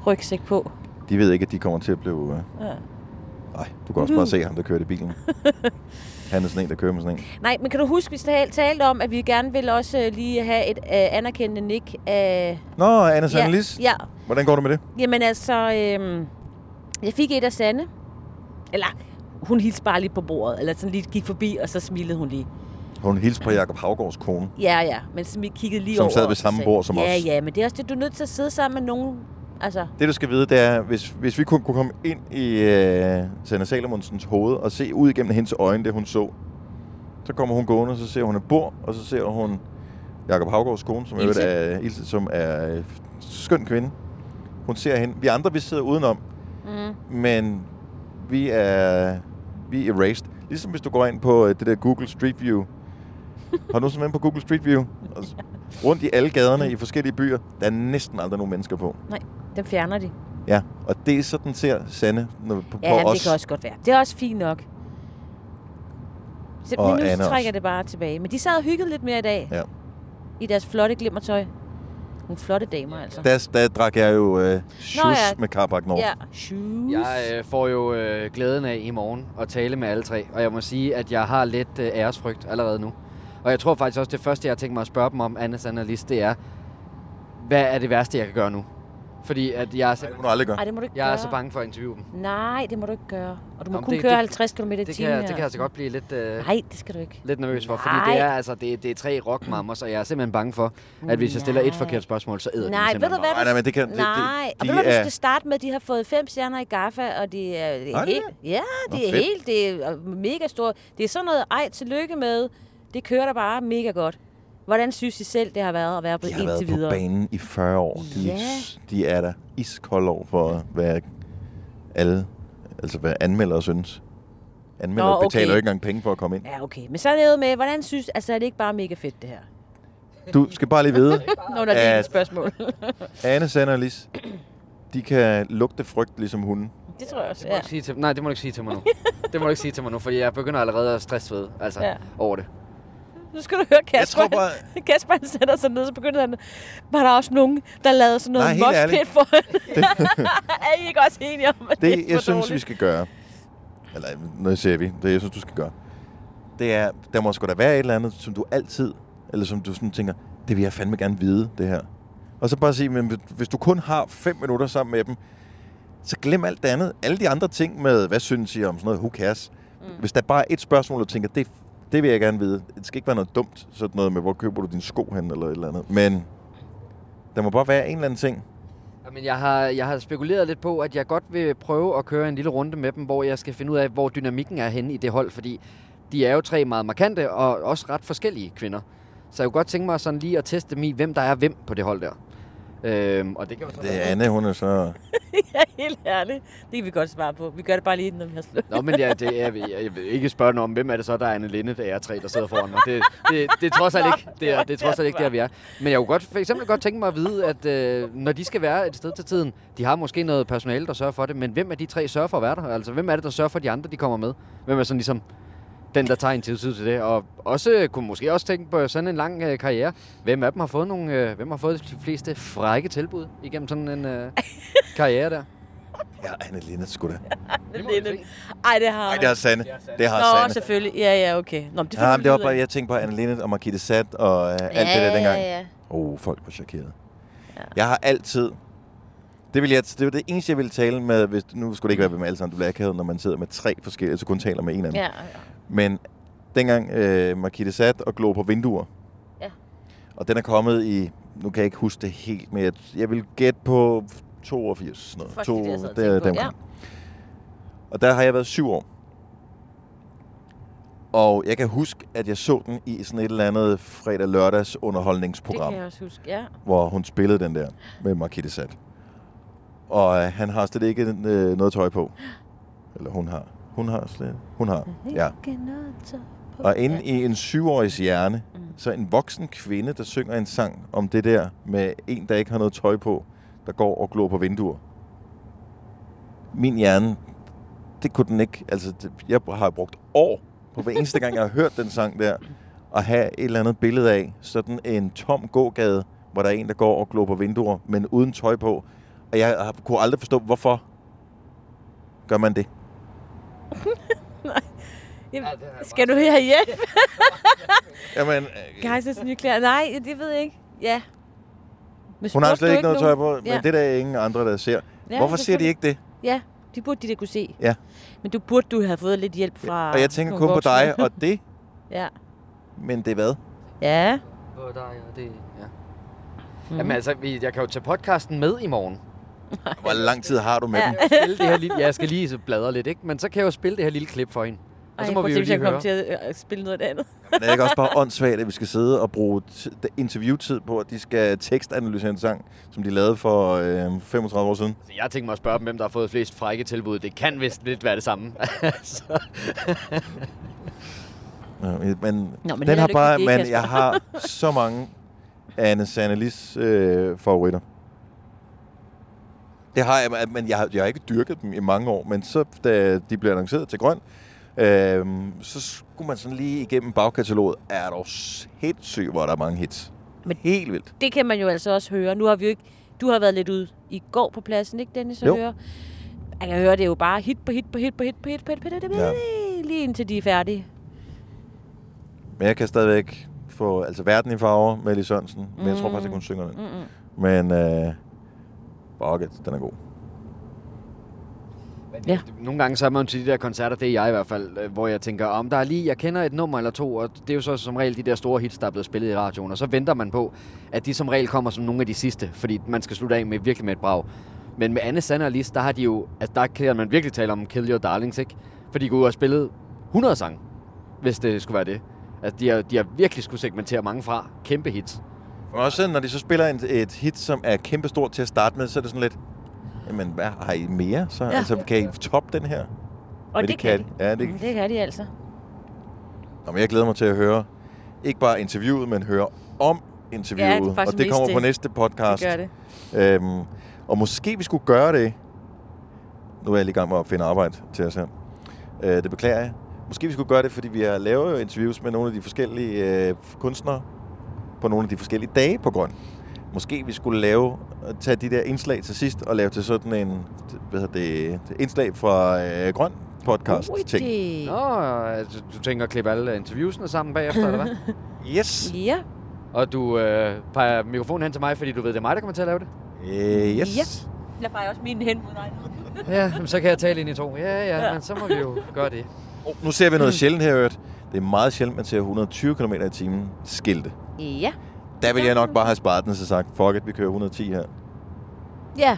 rygsæk på.
De ved ikke, at de kommer til at blive... øh,
Ja. Mm-hmm.
Nej, du kan også bare se ham, der kører i
*laughs*
bilen. Han er sådan en, der kører med sådan en.
Nej, men kan du huske, vi tal- talte om, at vi gerne vil også øh, lige have et øh, anerkendende nik af...
Nå, Anna
Ja,
Sandelis.
ja.
Hvordan går det med det?
Jamen altså, øhm, jeg fik et af Sande. Eller, hun hilste bare lige på bordet, eller sådan lige gik forbi, og så smilede hun lige.
Hun hilste
Mm.
på Jacob Havgårds kone.
Ja, ja, men som vi kiggede lige
Som
over.
sad ved
og så
samme
sagde-
bord som
ja,
os.
Ja, ja, men det er også det, du er nødt til at sidde sammen med nogen. Altså,
Det, du skal vide, det er, hvis, hvis vi kun kunne komme ind i øh, Sanna Salomonsens hoved og se ud igennem hendes øjne, det hun så, så kommer hun gående, og så ser hun et bord, og så ser hun Jakob Havgårds kone, som, i øvrigt
Ilse.
er, Ilse, som er øh, skøn kvinde. Hun ser hende. Vi andre, vi sidder udenom,
Mm.
men vi er, vi er erased. Ligesom hvis du går ind på øh, det der Google Street View. Har du sådan på Google
*laughs*
Street View? Og s- Rundt i alle gaderne i forskellige byer, der er næsten aldrig nogen mennesker på.
nej, den fjerner de.
Ja, og det er sådan ser Sande når, på,
Ja,
på
men
os.
det kan også godt være. Det er også fint nok. Så
Og
og nu
Anna
så
også.
trækker jeg det bare tilbage. Men de sad og hyggede lidt mere i dag.
Ja.
I deres flotte glimmertøj. Nogle flotte damer, altså.
Der, der drak jeg jo øh, shoes
ja.
med Carbac Nord.
Ja, shoes.
Jeg øh, får jo øh, glæden af i morgen at tale med alle tre, og jeg må sige, at jeg har lidt øh, æresfrygt allerede nu. Og jeg tror faktisk også, det første, jeg har tænkt mig at spørge dem om, Annas analyst, det er, hvad er det værste, jeg kan gøre nu? Fordi at jeg er simpelthen...
må du
Ej, det
aldrig
gøre. Ej, det må du ikke
jeg er altså
gøre.
så bange for at interviewe dem.
Nej, det må du ikke gøre. Og du må
Nå, men
kun
det-
køre
det-
50 km i timen.
Det kan, jeg, det kan jeg
her.
altså godt blive lidt... Øh,
Nej, det skal du ikke.
Lidt nervøs for, fordi
Nej.
det er, altså, det, det er tre rockmammers, og jeg er simpelthen bange for, at hvis jeg stiller et
Nej.
forkert spørgsmål, så æder de
Nej,
mig
ved du
simpelthen
hvad?
op.
du- Nej, og ved du hvad, du skal starte med, de har fået fem stjerner i Gaffa, og de er, det er
Har de
helt... Ja,
Nå,
det er
fedt.
helt... Det er øh, mega stort. Det er sådan noget, ej, tillykke med. Det kører der bare mega godt. Hvordan synes I selv, det har været at være på
De har
indtil
været
videre?
på banen i 40 år. De,
Ja.
de er der iskolde over for, hvad alle, altså hvad anmeldere synes. Anmeldere
Nå,
Nå,
okay.
okay. betaler jo ikke engang penge for at komme ind.
Ja, okay. Men så er det jo med, hvordan synes... Altså, er det ikke bare mega fedt, det her?
Du skal bare lige vide,
Nå, når det er et
at
spørgsmål.
Anne, Sanne og Lis, de kan lugte frygt ligesom hunden.
*laughs* det tror jeg også,
Det må du
ja.
ikke sige til, nej, det må du ikke sige til mig nu. det må du ikke sige til mig nu, for jeg begynder allerede at stresse ved, altså,
Ja.
ja. over det.
Nu skal du høre Kasper.
tror
bare... *laughs* Kasper han sætter sig ned, så begynder han... Var der også nogen, der lavede sådan
Nej,
noget
helt ærligt.
moshpit
*laughs*
for *laughs* Er I ikke også enige om, at det,
Det, jeg
for
synes, vi
dårligt?
skal gøre, eller nu ser vi, det jeg synes, du skal gøre, det er, der må sgu da være et eller andet, som du altid, eller som du sådan tænker, det vil jeg fandme gerne vide, det her. Og så bare sige, men hvis du kun har fem minutter sammen med dem, så glem alt det andet. Alle de andre ting med, hvad synes I om sådan noget, who cares? Mm. Hvis der bare er et spørgsmål, du tænker, det, det vil jeg gerne vide. Det skal ikke være noget dumt, sådan noget med, hvor køber du dine sko hen, eller et eller andet. Men der må bare være en eller anden ting.
Jamen, jeg har, jeg har spekuleret lidt på, at jeg godt vil prøve at køre en lille runde med dem, hvor jeg skal finde ud af, hvor dynamikken er henne i det hold, fordi de er jo tre meget markante og også ret forskellige kvinder. Så jeg kunne godt tænke mig sådan lige at teste dem i, hvem der er hvem på det hold der. Øhm, og det kan jo så
Det er Anne, hun er så...
ja, *laughs* helt ærligt. Det kan vi godt svare på. Vi gør det bare lige, når vi har slået.
*laughs* Nå, men ja, det er, jeg, jeg vil ikke spørge noget om, hvem er det så, der er Anne Linde, der er tre, der sidder foran mig. Det, det, det er trods alt ikke, det er, det er trods alt ikke der, vi er. Men jeg kunne godt, for eksempel godt tænke mig at vide, at øh, når de skal være et sted til tiden, de har måske noget personale, der sørger for det, men hvem af de tre sørger for at være der? Altså, hvem er det, der sørger for, at de andre de kommer med? Hvem er sådan ligesom den, der tager en tid til det? Og også øh, kunne måske også tænke på sådan en lang øh, karriere. Hvem af dem har fået, nogle, øh, hvem har fået de fleste frække tilbud igennem sådan en øh, karriere der?
Ja, Anne Linde, sgu da.
Ej, det har
Nej, det har Sande. Det har
Nå,
Sande.
selvfølgelig. Ja, ja, okay. Nå, men det,
Det, ja, men det var
lyder
bare,
ikke.
jeg tænkte på Annelene og Margitte Sat og øh, alt
Ja,
det der dengang.
ja, ja.
Oh, folk var chokeret. Ja. Jeg har altid... Det, vil jeg, det var det eneste, jeg ville tale med. Hvis, nu skulle det ikke være med dem alle sammen. Du bliver akavet, når man sidder med tre forskellige, så kun taler med en af dem.
Ja, ja.
Men dengang øh, Margitte Sat og glo på vinduer.
Ja.
Og den er kommet i... Nu kan jeg ikke huske det helt, men jeg, jeg vil gætte på 82. Sådan noget.
Faktisk det, jeg sad og
der-
tænkte på,
deromkring. Og der har jeg været syv år. Og jeg kan huske, at jeg så den i sådan et eller andet fredag-lørdags
Det
underholdningsprogram,
kan jeg også huske, ja.
hvor hun spillede den der med Marquette Sat. Og øh, han har slet ikke øh, noget tøj på. Eller hun har. Hun har slet. Hun har. Ja. Og inde i en syvårigs hjerne,
Mm.
så en voksen kvinde, der synger en sang om det der med en, der ikke har noget tøj på, der går og glor på vinduer. Min hjerne, det kunne den ikke. Altså, det, jeg har brugt år på hver eneste gang, jeg har hørt den sang der, at have et eller andet billede af sådan en tom gågade, hvor der er en, der går og glor på vinduer, men uden tøj på. Og jeg har- kunne aldrig forstå, hvorfor gør man det.
Jamen, skal du her hjælp?
Jamen,
Kejsers nye klæder. Nej, det ved jeg ikke. Ja. Men
hun har
spurgte
slet
du
ikke noget tøj
nogen?
på, men
Ja.
det er der ingen andre, der ser.
Ja,
Hvorfor ser de
selvfølgelig.
ikke det?
Ja, de burde de da kunne se.
Ja.
Men du burde du have fået lidt hjælp fra...
Og jeg tænker
nogle
kun på dig
voksne. *laughs*
og det,
ja.
men det er hvad?
Ja. Mhm.
Både dig og det, ja. Mm. Jamen altså, vi- jeg kan jo tage podcasten med i morgen.
Hvor lang tid har du med
ja.
dem?
Spille det
*laughs*
her lille, ja, jeg skal lige så bladre lidt, ikke? Men så kan jeg jo spille det her lille klip for hende. Og så må
prøv
vi
at
jo
tænke, hvis jeg
lige høre.
kom til at øh, spille noget andet.
Men er det ikke også bare åndssvagt, at vi skal sidde og bruge t- interviewtid på, at de skal tekstanalysere en sang, som de lavede for øh, 35 år siden?
Så Altså, Jeg tænkte mig at spørge dem, hvem der har fået flest frække tilbud. Det kan vist lidt være det samme. *laughs* Altså.
Ja, men,
Nå, men held
den
og
har
lykke
bare,
med det,
men
Kasper.
jeg har så mange Anne Sannelis øh, favoritter. Det har jeg, men jeg har, jeg har ikke dyrket dem i mange år, men så da de blev annonceret til grøn, øh, så skulle man sådan lige igennem bagkataloget. Er dog sindssygt, hvor der er mange hits. Men Helt vildt.
Det kan man jo altså også høre. Nu har vi jo ikke... Du har været lidt ude i går på pladsen, ikke Dennis? at
Jo.
høre? Jeg kan høre, det er jo bare hit på hit på hit på hit på hit på hit på hit, på hit,
Ja.
lige indtil de er færdige.
Men jeg kan stadigvæk få altså verden i farver med Elie Sørensen, men jeg tror
Mm.
faktisk ikke, hun synger den.
Mm-mm.
Men øh, Bucket, den er god.
Ja. Nogle gange så er man jo til de der koncerter, det er jeg i hvert fald, øh, hvor jeg tænker, om der er lige, jeg kender et nummer eller to, og det er jo så som regel de der store hits, der er blevet spillet i radioen, og så venter man på, at de som regel kommer som nogle af de sidste, fordi man skal slutte af med virkelig med et brag. Men med Anne Sander og Lis, der har de jo, altså der kan man virkelig tale om Kill Your Darlings, ikke? For de kunne jo have spillet 100 sange, hvis det skulle være det. Altså de har, de har virkelig skulle segmentere mange fra kæmpe hits.
Men også sådan, når de så spiller en, et hit, som er kæmpestort til at starte med, så er det sådan lidt, jamen hvad har I mere? Så, ja.
Ja.
Altså, kan I toppe den her?
Og det, kan de.
Ja, det,
Mm, det kan de altså.
Nå, men jeg glæder mig til at høre, ikke bare interviewet, men høre om interviewet.
Ja, det er faktisk
og det
mest
kommer på
det.
næste podcast.
Det gør
det. Øhm, og måske vi skulle gøre det. Nu er jeg lige i gang med at finde arbejde til os her. Øh, det beklager jeg. Måske vi skulle gøre det, fordi vi har lavet jo interviews med nogle af de forskellige øh, kunstnere på nogle af de forskellige dage på grøn. Måske vi skulle lave, tage de der indslag til sidst og lave til sådan en hvad hedder det, indslag fra øh, grøn podcast
Uhuh,
ting.
Nå, altså, du tænker at klippe alle interviewsene sammen bagefter, eller hvad?
Yes.
Ja.
Og du øh, peger mikrofonen hen til mig, fordi du ved, det er mig, der kommer til at lave det?
Øh, yes.
Ja. Jeg bare også min hen mod dig.
Ja, jamen, så kan jeg tale ind i to. Ja, ja,
Ja.
ja, men så må vi jo gøre *laughs* det.
Oh, Nu ser vi noget sjældent her, i øvrigt. Det er meget sjældent, man ser 120 km i timen skilte.
Ja.
Der vil jeg nok bare have sparet den, så sagt, fuck it, vi kører 110 her.
Ja.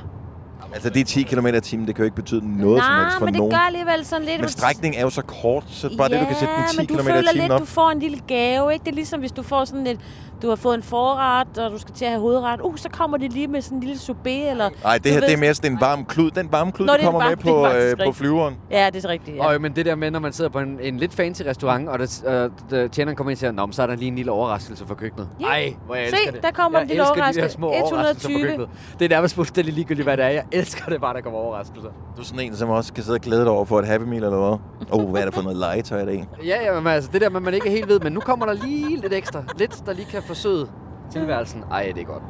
Altså, det er 10 km i timen, det kan jo ikke betyde noget som helst
Nej,
for
men det
nogen.
gør alligevel sådan lidt...
Men strækningen er jo så kort, så bare det, du kan sætte
Ja,
den 10
men du
km
føler
i timen
lidt,
op.
du får en lille gave, ikke? Det er ligesom, hvis du får sådan et... Du har fået en forret, og du skal til at have hovedret. Uh, så kommer det lige med sådan en lille soubé, eller...
Nej, det
du
her
ved-
det er mere sådan en varm klud. Den varme klud,
Nå,
der
det er
kommer
en
med
varm- det er
på,
faktisk
øh, på
rigtigt.
flyveren.
Ja, det er så rigtigt, ja.
Og men det der med, når man sidder på en, en lidt fancy restaurant, og det, øh, der- tjeneren kommer ind og siger, Nå, men så er der lige en lille overraskelse for køkkenet.
Ja.
Ej, hvor jeg
Se,
elsker det.
der kommer
jeg
en lille
elsker de der
overraskelse.
små overraskelser fra
120.
køkkenet. Det er nærmest fuldstændig ligegyldigt, hvad det er. Jeg elsker det bare, der kommer overraskelser.
Du er sådan en, som også kan sidde og glæde dig over for et Happy Meal eller
*laughs*
hvad. Åh, oh, hvad er det for noget legetøj i dag?
Ja, ja, men altså, det der med, at man ikke helt ved, men nu kommer der lige lidt ekstra. Lidt, der lige kan forsøde tilværelsen. Ej, det er godt.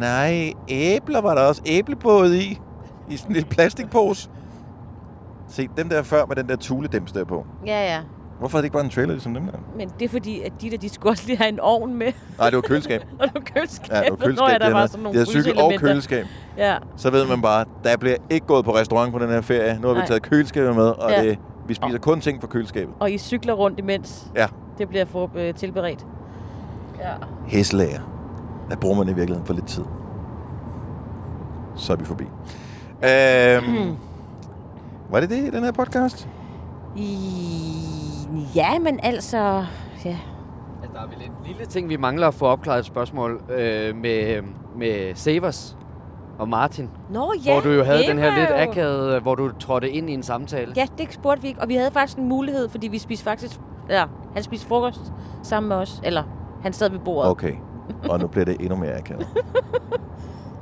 Nej, æbler var der også æblebåde i. I sådan en lille plastikpose. Se, dem der før med den der tuledems der på.
Ja, ja.
Hvorfor er det ikke bare en trailer ligesom dem der?
Men det er fordi, at de der, de skulle også lige have en ovn med. *laughs*
Nej, det var køleskab.
og det var køleskab.
Ja, det var køleskab.
*laughs* Nå, ja,
det
der
er
var
noget.
sådan
det
nogle
er cykel og
fryseelementer.
køleskab.
Ja.
Så ved man bare, der bliver ikke gået på restaurant på den her ferie. Nu har vi
Nej.
taget køleskabet med, og
Ja.
det, vi spiser kun ting fra køleskabet.
Og I cykler rundt imens.
Ja.
Det bliver for, øh, tilberedt. Ja.
Hæslager. Der bruger man i virkeligheden for lidt tid. Så er vi forbi.
*clears throat*
Øhm, var det det i den her podcast?
I... Ja, men altså... Ja.
Altså, der er vel en lille ting, vi mangler at få opklaret et spørgsmål øh, med, med Severs og Martin.
Nå ja,
Hvor du jo havde
det
den her
var
lidt
jo-
akavede, hvor du trådte ind i en samtale.
Ja, det spurgte vi ikke. Og vi havde faktisk en mulighed, fordi vi spiste faktisk... Ja, han spiste frokost sammen med os. Eller han sad ved bordet. *laughs*
Okay. Og nu bliver det endnu mere akavet.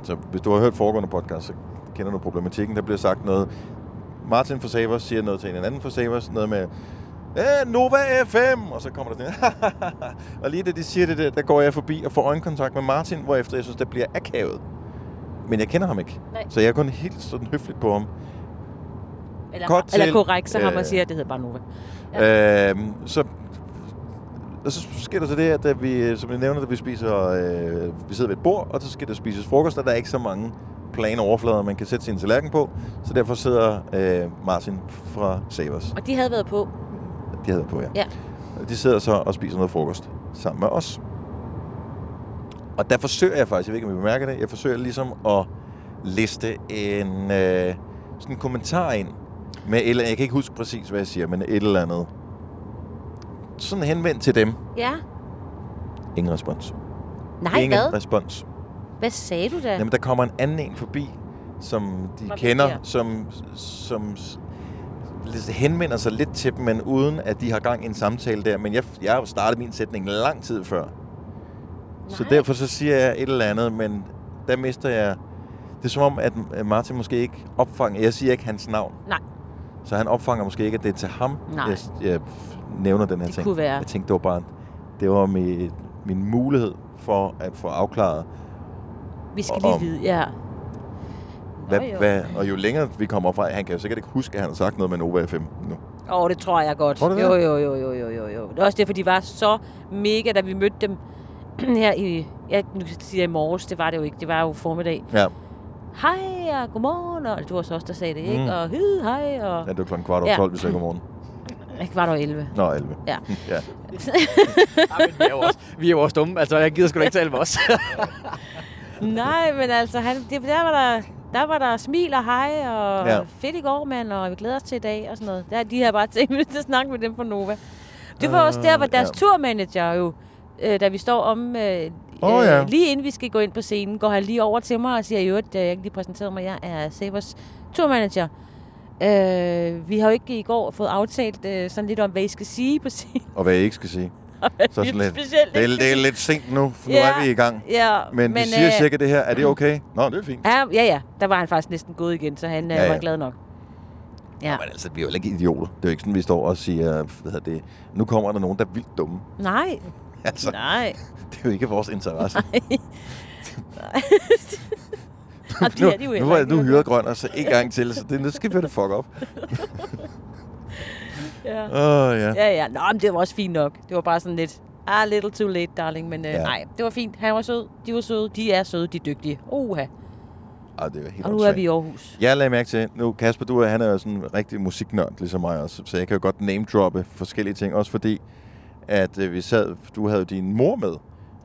Så hvis du har hørt foregående podcast, så kender du problematikken. Der bliver sagt noget. Martin for Savers siger noget til en anden for Savers. Noget med, "Øh, Nova FM! Og så kommer der sådan en, *laughs* Og lige da de siger det der, der går jeg forbi og får øjenkontakt med Martin, hvorefter jeg synes, det bliver akavet. Men jeg kender ham ikke.
Nej.
Så jeg er kun helt sådan høfligt på ham.
Eller,
Godt
eller
til,
korrekt, så har
øh,
man siger, at det hedder bare Nova.
Ja. Øhm, så, og så sker der så det, at da vi, øh, som jeg nævner, at vi spiser, øh, vi sidder ved et bord, og så skal der spises frokost, og der er ikke så mange plane overflader, man kan sætte sin tallerken på. Så derfor sidder øh, Martin fra Savers.
Og de havde været på.
De hedder på, ja.
Ja.
De sidder så og spiser noget frokost sammen med os. Og der forsøger jeg faktisk, jeg ved ikke, om I bemærker det, jeg forsøger ligesom at liste en øh, sådan en kommentar ind. Med et eller, jeg kan ikke huske præcis, hvad jeg siger, men et eller andet. Sådan henvendt til dem.
Ja.
Ingen respons.
Nej,
Ingen
hvad?
respons.
Hvad sagde du da?
Jamen, der kommer en anden en forbi, som de
Fra
kender,
Vigør.
som, som s- lidt henvender sig lidt til dem, men uden at de har gang i en samtale der. Men jeg, jeg har jo startet min sætning lang tid før. Nej. Så derfor så siger jeg et eller andet, men der mister jeg... Det er som om, at øh, Martin måske ikke opfanger... Jeg siger ikke hans navn.
Nej.
Så han opfanger måske ikke, at det er til ham,
Nej.
jeg, jeg nævner den her ting.
kunne være.
Jeg tænkte, det var bare... Det var min, min mulighed for at få afklaret,
Vi skal
og-
lige
om-
vide, ja.
Hvad,
jo.
jo. Hvad, og jo længere vi kommer fra, han kan jo sikkert ikke huske, at han har sagt noget med Nova FM nu.
Åh, oh, det tror jeg godt.
Tror du det?
jo, jo, jo, jo, jo, jo, jo. Det er også derfor, de var så mega, da vi mødte dem *clears throat* her i... Ja, nu siger jeg i morges, det var det jo ikke. Det var jo formiddag.
Ja,
Hej, og godmorgen, og det var så også, der sagde det, ikke?
Mm.
Mm. Og hyd, hej, og...
ja det var klokken kvart over
Ja.
12, vi sagde godmorgen.
Ikke var der 11.
Nå, 11.
Ja.
*laughs* ja.
Vi er jo også, vi er jo også dumme. Altså, jeg gider sgu da ikke tale med os.
Nej, men altså, han, det, der, var der, der var der smil og hej, og
Ja.
ja. fedt i går, mand, og vi glæder os til i dag, og sådan noget. Der, de har bare tænkt, *laughs* at at snakke med dem fra Nova. Det var også der, hvor
Øh,
deres
ja.
ja. turmanager jo, øh, da vi står om... Øh,
Åh,
øh,
ja.
Lige inden vi skal gå ind på scenen, går han lige over til mig og siger, jo, at øh, jeg ikke lige præsenterede mig, jeg er Sabers turmanager. Øh, vi har jo ikke i går fået aftalt øh, sådan lidt om, hvad I skal sige på scenen. *laughs*
Og hvad jeg ikke skal sige. Så sådan lidt,
specielt
det, er,
ikke
det er lidt sent nu, for nu
Ja,
er vi i gang.
ja,
men, vi
men,
siger
øh,
cirka det her. Er det okay? Nå, det er
*laughs*
fint.
Ja, ja, ja. Der var han faktisk næsten gået igen, så han øh,
Ja,
ja,
ja.
ja. var glad nok. Ja.
Men altså, vi er jo heller ikke idioter. Det er jo ikke sådan, vi står og siger, hvad hedder det, nu kommer der nogen, der er vildt dumme. *laughs*
Nej.
Altså, *laughs*
Nej.
Det er jo ikke vores
*laughs*
interesse.
Nej. Og det
nu,
er de jo
nu,
heller
var jeg
ikke.
nu hyret grøn, og så en gang til, så det, nu skal vi have det fuck op.
Ja.
Åh, ja.
ja, ja. Nå, men det var også fint nok. Det var bare sådan lidt, ah, little too late, darling. Men øh,
Ja.
ja. nej, det var fint. Han var sød. De var søde. De er søde. De er dygtige. Uha.
Ej, det er helt
Og nu er
åndssvagt.
vi i Aarhus.
Jeg lagde mærke til, nu Kasper, du er, han er jo sådan en rigtig musiknørd, ligesom mig også, så jeg kan jo godt name-droppe forskellige ting, også fordi, at øh, vi sad, du havde jo din mor med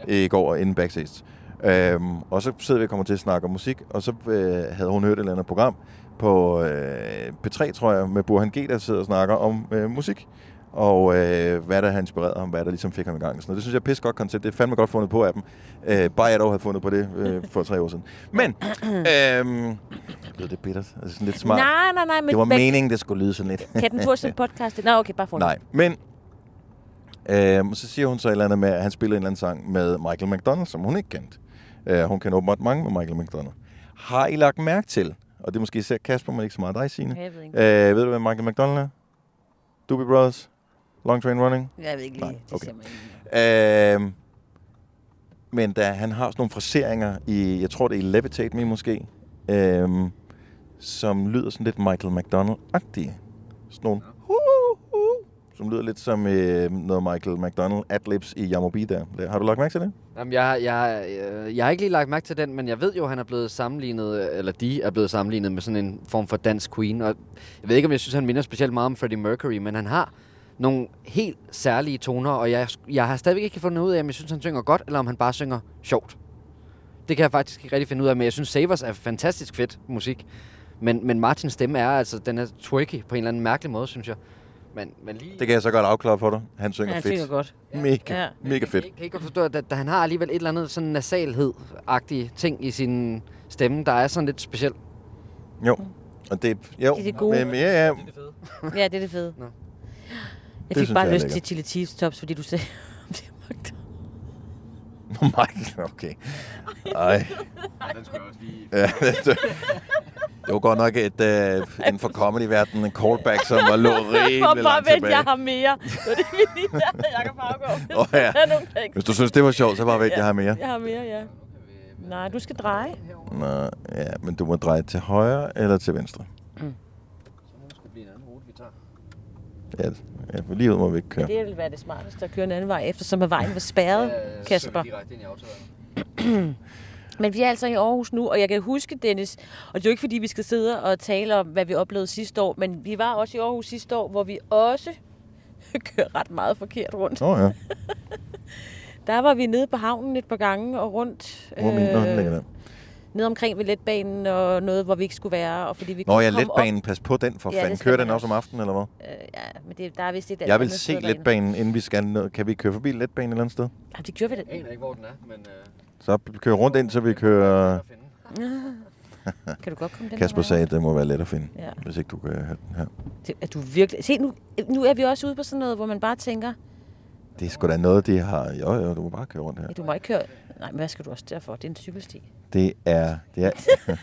ja. i går inden backstage, øhm, og så sidder vi og kommer til at snakke om musik, og så øh, havde hun hørt et eller andet program på øh, P3, tror jeg, med Burhan G, der sidder og snakker om øh, musik, og øh, hvad der har inspireret ham, hvad der ligesom fik ham i gang. og Sådan noget. Det synes jeg er pisse godt koncept. Det er fandme godt fundet på af dem. Øh, bare jeg dog havde fundet på det øh, for tre år siden.
*clears throat*
Men, øhm, lyder det bittert? Altså sådan lidt smart.
Nej, nej, nej, men-
det var
men-
meningen, det skulle lyde sådan lidt.
Kan den få sin podcast? Nå, okay, bare få
Nej, men... Øhm, så siger hun så et eller andet med, at han spillede en eller anden sang med Michael McDonald, som hun ikke kendte. Øh, hun kender åbenbart mange med Michael McDonald. Har I lagt mærke til, og det er måske især Kasper, men ikke så meget dig, Signe.
Jeg ved ikke.
Øh, ved du, hvad Michael McDonald er? Doobie Brothers? Long Train Running?
Jeg ved ikke lige.
Nej,
Det
okay.
siger
Øhm, men da han har sådan nogle fraseringer i, jeg tror det er i Levitate Me måske, øhm, som lyder sådan lidt Michael McDonald-agtige. Sådan nogle, som lyder lidt som øh, noget Michael McDonald adlibs i Yamobi der. Har du lagt mærke til det?
Jamen, jeg, jeg, øh, jeg har ikke lige lagt mærke til den, men jeg ved jo, at han er blevet sammenlignet, øh, eller de er blevet sammenlignet med sådan en form for dansk queen. Og jeg ved ikke, om jeg synes, han minder specielt meget om Freddie Mercury, men han har nogle helt særlige toner, og jeg, jeg har stadigvæk ikke fundet ud af, om jeg synes, han synger godt, eller om han bare synger sjovt. Det kan jeg faktisk ikke rigtig finde ud af, men jeg synes, Savers er fantastisk fedt musik. Men, men Martins stemme er altså, den er twerky på en eller anden mærkelig måde, synes jeg. Men, men lige...
Det kan jeg så godt afklare for dig. Han synger
Han
fedt.
synger godt.
Mega,
Ja.
mega fedt.
kan I godt forstå, at, at han har alligevel et eller andet sådan nasalhed-agtig ting i sin stemme, der er sådan lidt speciel.
Jo. Og det, jo.
Det er det gode.
Men, ja, ja.
Ja, det er det fede. Jeg
Det
fik
synes
bare
jeg er
lyst
lækkert.
til chili cheese tops, fordi du sagde, det er McDonald's.
Michael, *laughs* okay. Ej.
den skulle jeg også lige...
Ja, *laughs* det, det var godt nok et, øh, inden for comedy-verdenen, en callback, som var
*laughs*
lå rimelig
Og bare
langt
vent,
tilbage.
jeg har mere. Det er det, vi lige lærte af Jacob Haugaard. Hvis
Åh,
der
ja.
er nogle tekster.
Hvis du synes, det var sjovt, så bare vent, jeg har mere.
Jeg har mere, ja. Nej, du skal dreje.
Nå, ja, men du må dreje til højre eller til venstre.
Mm.
Ja, ja for livet må vi ikke
Men
køre.
det ville være det smarteste at køre en anden vej, eftersom at vejen var spærret, Kasper. Men vi er altså i Aarhus nu, og jeg kan huske, Dennis, og det er jo ikke fordi, vi skal sidde og tale om, hvad vi oplevede sidste år, men vi var også i Aarhus sidste år, hvor vi også *laughs* kører ret meget forkert rundt.
Åh, ja.
Der var vi nede på havnen et par gange og rundt.
Hvor min øh, ligger der?
Nede omkring ved letbanen og noget, hvor vi ikke skulle være. Og fordi vi
Nå
kunne
ja,
komme op-
letbanen, pas på den for
Ja, det
fanden.
skal
Kører
man
den også om aftenen, eller hvad?
Øh, ja, men det, der er vist et
Jeg vil
andet sted
se
derinde.
letbanen, inden vi skal ned. Kan vi køre forbi letbanen et eller andet sted?
Ja, det gjorde vi det.
Jeg aner ikke, hvor den er, men... Øh...
Så kører rundt ind, så vi kører...
Kan du godt komme den
Kasper
her vej?
sagde, at det må være let at finde,
Ja.
ja. hvis ikke du kan høre den her.
Det, er du virkelig... Se, nu, nu er vi også ude på sådan noget, hvor man bare tænker,
Det er sgu da noget, de har... Jo, jo, du må bare køre rundt her.
ja, du må ikke køre... Nej, men hvad skal du også derfor? Det er en
*laughs*
cykelsti.
Det er... Det
*laughs*
er altså,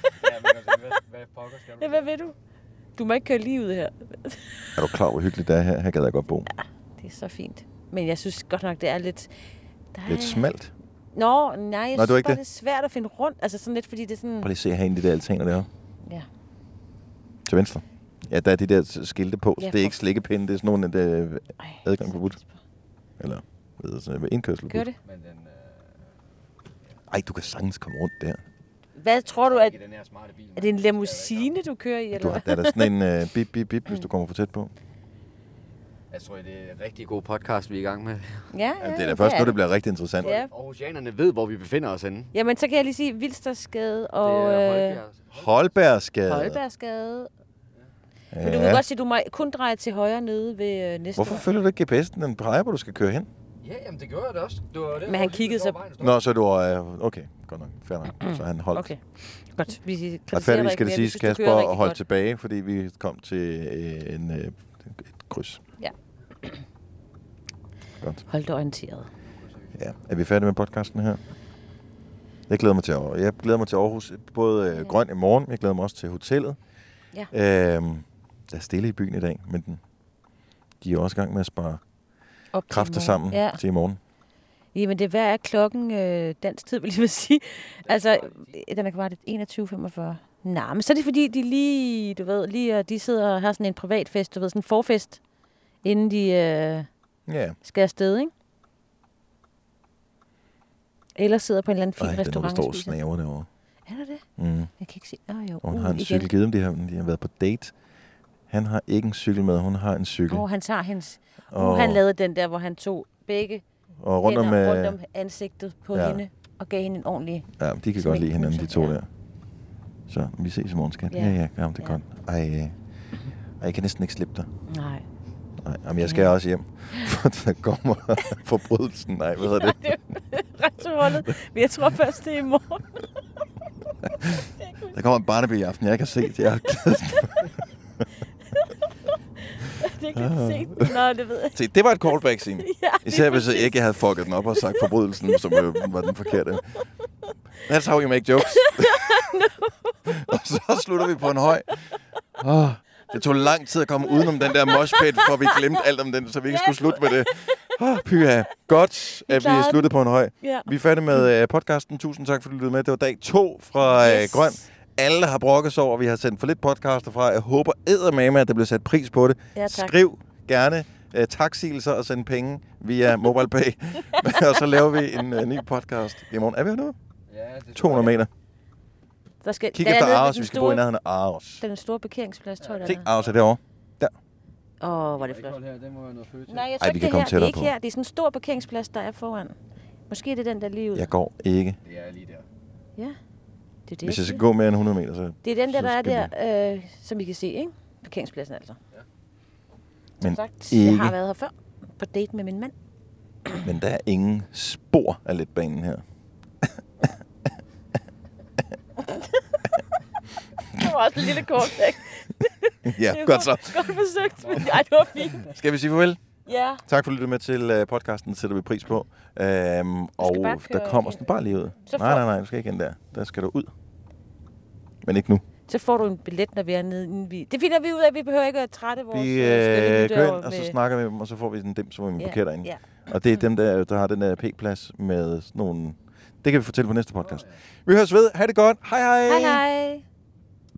Ja, hvad ved du? Du må ikke køre lige ud her.
er du klar, over, hvor hyggeligt det er her? Her gad jeg godt bo.
Det er så fint. Men jeg synes godt nok, det er lidt... Der er...
Lidt smalt.
Nå, nej, jeg
Nå, det
synes
var
bare,
ikke
det?
det?
er svært at finde rundt. Altså sådan lidt, fordi det er sådan...
Prøv lige at se herinde, de der altaner deroppe.
Ja.
Til venstre. Ja, der er de der skilte på.
Ja,
Ja, det er ikke slikkepinde, det er sådan nogle, der er adgang forbudt. Eller hvad hedder sådan noget, indkørsel
Gør
forbudt.
det.
Ej, du kan sagtens komme rundt der.
Hvad tror du, at... Er det en limousine, du kører i,
Du
eller
har, der
hvad?
er der sådan en øh, bip, bip, bip, hvis du kommer for tæt på.
Jeg tror, det er en rigtig god podcast, vi er i gang med.
Ja, ja,
det er da først nu, det bliver rigtig interessant.
Ja.
Aarhusianerne ved, hvor vi befinder os henne.
Jamen, så kan jeg lige sige Vilsterskade og...
Det er
øh,
Holbergsgade.
Holbergsgade. Men du
Ja.
kan godt sige, at du må kun dreje til højre nede ved øh, næste
Hvorfor
år.
følger du ikke GPS'en? Den peger, hvor du skal køre hen.
Ja, jamen det gjorde jeg da også. Det var det.
Men han kiggede så...
Nå, så du er... Øh, okay, godt nok. Fair nok. Så han holdt.
Okay, godt. Vi
Og
kritiserer
færdig
dig
skal det
ikke mere. Vi
siges,
synes, du kører
Kasper
rigtig
og holdt
godt.
tilbage, fordi vi kom til øh, en, øh, et kryds.
Ja.
Godt.
Hold dig orienteret.
Ja. Er vi færdige med podcasten her? Jeg glæder mig til Aarhus. Jeg glæder mig til Aarhus. Både øh, grøn i morgen, jeg glæder mig også til hotellet.
Ja.
Øhm, der er stille i byen i dag, men den, de er også i gang med at spare
Op til i
kræfter
morgen.
sammen
Ja.
til i morgen.
Jamen, det, hvad er klokken øh, dansk tid, vil jeg lige *laughs* vil sige? Altså, øh, den er kvart i 21.45. Nej, men så er det fordi, de lige, du ved, lige, øh, de sidder og har sådan en privatfest, du ved, sådan en forfest, inden de øh,
Ja.
skal afsted, ikke? Eller sidder på en eller anden fin
Ej, den er, der
restaurant
står og
og spiser.
snaver derovre.
Er der det?
Mm.
Jeg kan ikke se. Åh, oh, jo.
Og hun
Uh,
har en
igen.
cykel givet dem, de har, de har været på date. Han har ikke en cykel med, hun har en cykel.
Åh, oh, han tager hendes... Oh.
Og-
Uh, han lavede den der, hvor han tog begge
Og rundt om,
hænder
øh,
rundt om ansigtet på ja.
ja.
hende og gav hende en ordentlig...
Ja, men de kan godt lide hinanden, de to der. Så vi ses i morgen, skat.
Ja.
Ja, ja, ja jamen, det er ja. godt. Ej, øh, ej, jeg kan næsten ikke slippe dig.
Nej.
Nej, jamen, jeg skal også hjem, *laughs* for der kommer forbrydelsen. Nej, hvad
*laughs*
hedder det? *laughs*
Retsholdet. Men jeg tror først, det er i morgen. *laughs*
Der kommer en Barnaby i aften, jeg kan se det. Jeg har *laughs* glædet
det er ikke
Ah.
lidt sent. Nå, det ved
*laughs*
jeg.
Se, det var et callback scene.
Ja,
*laughs* Især hvis jeg ikke havde fucket den op og sagt forbrydelsen, som øh, var den forkerte. That's how you make
*laughs*
jokes. *laughs* og så slutter vi på en høj. Oh, det tog lang tid at komme udenom den der moshpit, for vi glemte alt om den, så vi ikke skulle slutte med det. Oh, pyha. Godt, at vi
klarede
er
den.
sluttet på en høj.
Ja.
Vi er færdige med øh, podcasten. Tusind tak, fordi du lyttede med. Det var dag to fra yes. Grøn. Alle har brokket sig over, at vi har sendt for lidt podcaster fra. Jeg håber eddermame, at der bliver sat pris på det.
Ja, tak.
Skriv gerne øh, taksigelser og send penge via MobilePay. *laughs* og så laver vi en øh, ny podcast i morgen. Er vi her nu? Ja, 200 meter.
Der skal,
Kig
der er
efter
nede ved
Aros.
den
Vi skal bo i
store-
nærheden af Aros.
Den store parkeringsplads, tror jeg,
Se,
der er.
Aros er derovre. Der.
Åh, oh, hvor er det flot. Nej, jeg tror
Ej, vi
ikke,
kan
det er
komme
her. Det er
tættere
ikke
på.
her. Det er sådan en stor parkeringsplads, der er foran. Måske er det den, der er lige ud.
Jeg går ikke.
Det er lige der.
Ja. Det er det,
Hvis jeg skal
siger.
gå mere end 100 meter, så...
Det er den der,
så
der er
skal vi-
der, øh, som I kan se, ikke? Parkeringspladsen altså. Ja.
Men
sagt, jeg
ikke-
har været her før på date med min mand.
Men der er ingen spor af letbanen her.
*laughs* Det var også en lille kort, ikke?
Ja, godt så.
Godt forsøgt, men ej, det var fint.
Skal vi sige farvel?
Ja.
Tak for at lytte med til øh, podcasten. Det sætter vi pris på. Øhm, og
bare
der
køre
kommer sådan bare lige ud.
Så
Nej,
får-
nej, nej. Du skal ikke ind der. Der skal du ud. Men ikke nu.
Så får du en billet, når vi er nede. Inden vi... Det finder vi ud af. Vi behøver ikke at trætte vores...
Vi
øh, skønne
øh,
lyttere
går ind, og så
med-
snakker vi med dem, og så får vi sådan dem, som er med
Ja,
buketter ind.
ja.
Og det er dem, der, der har den der p-plads med sådan nogle... Det kan vi fortælle på næste podcast. Vi høres ved. Ha' det godt. Hej hej.
Hej, hej.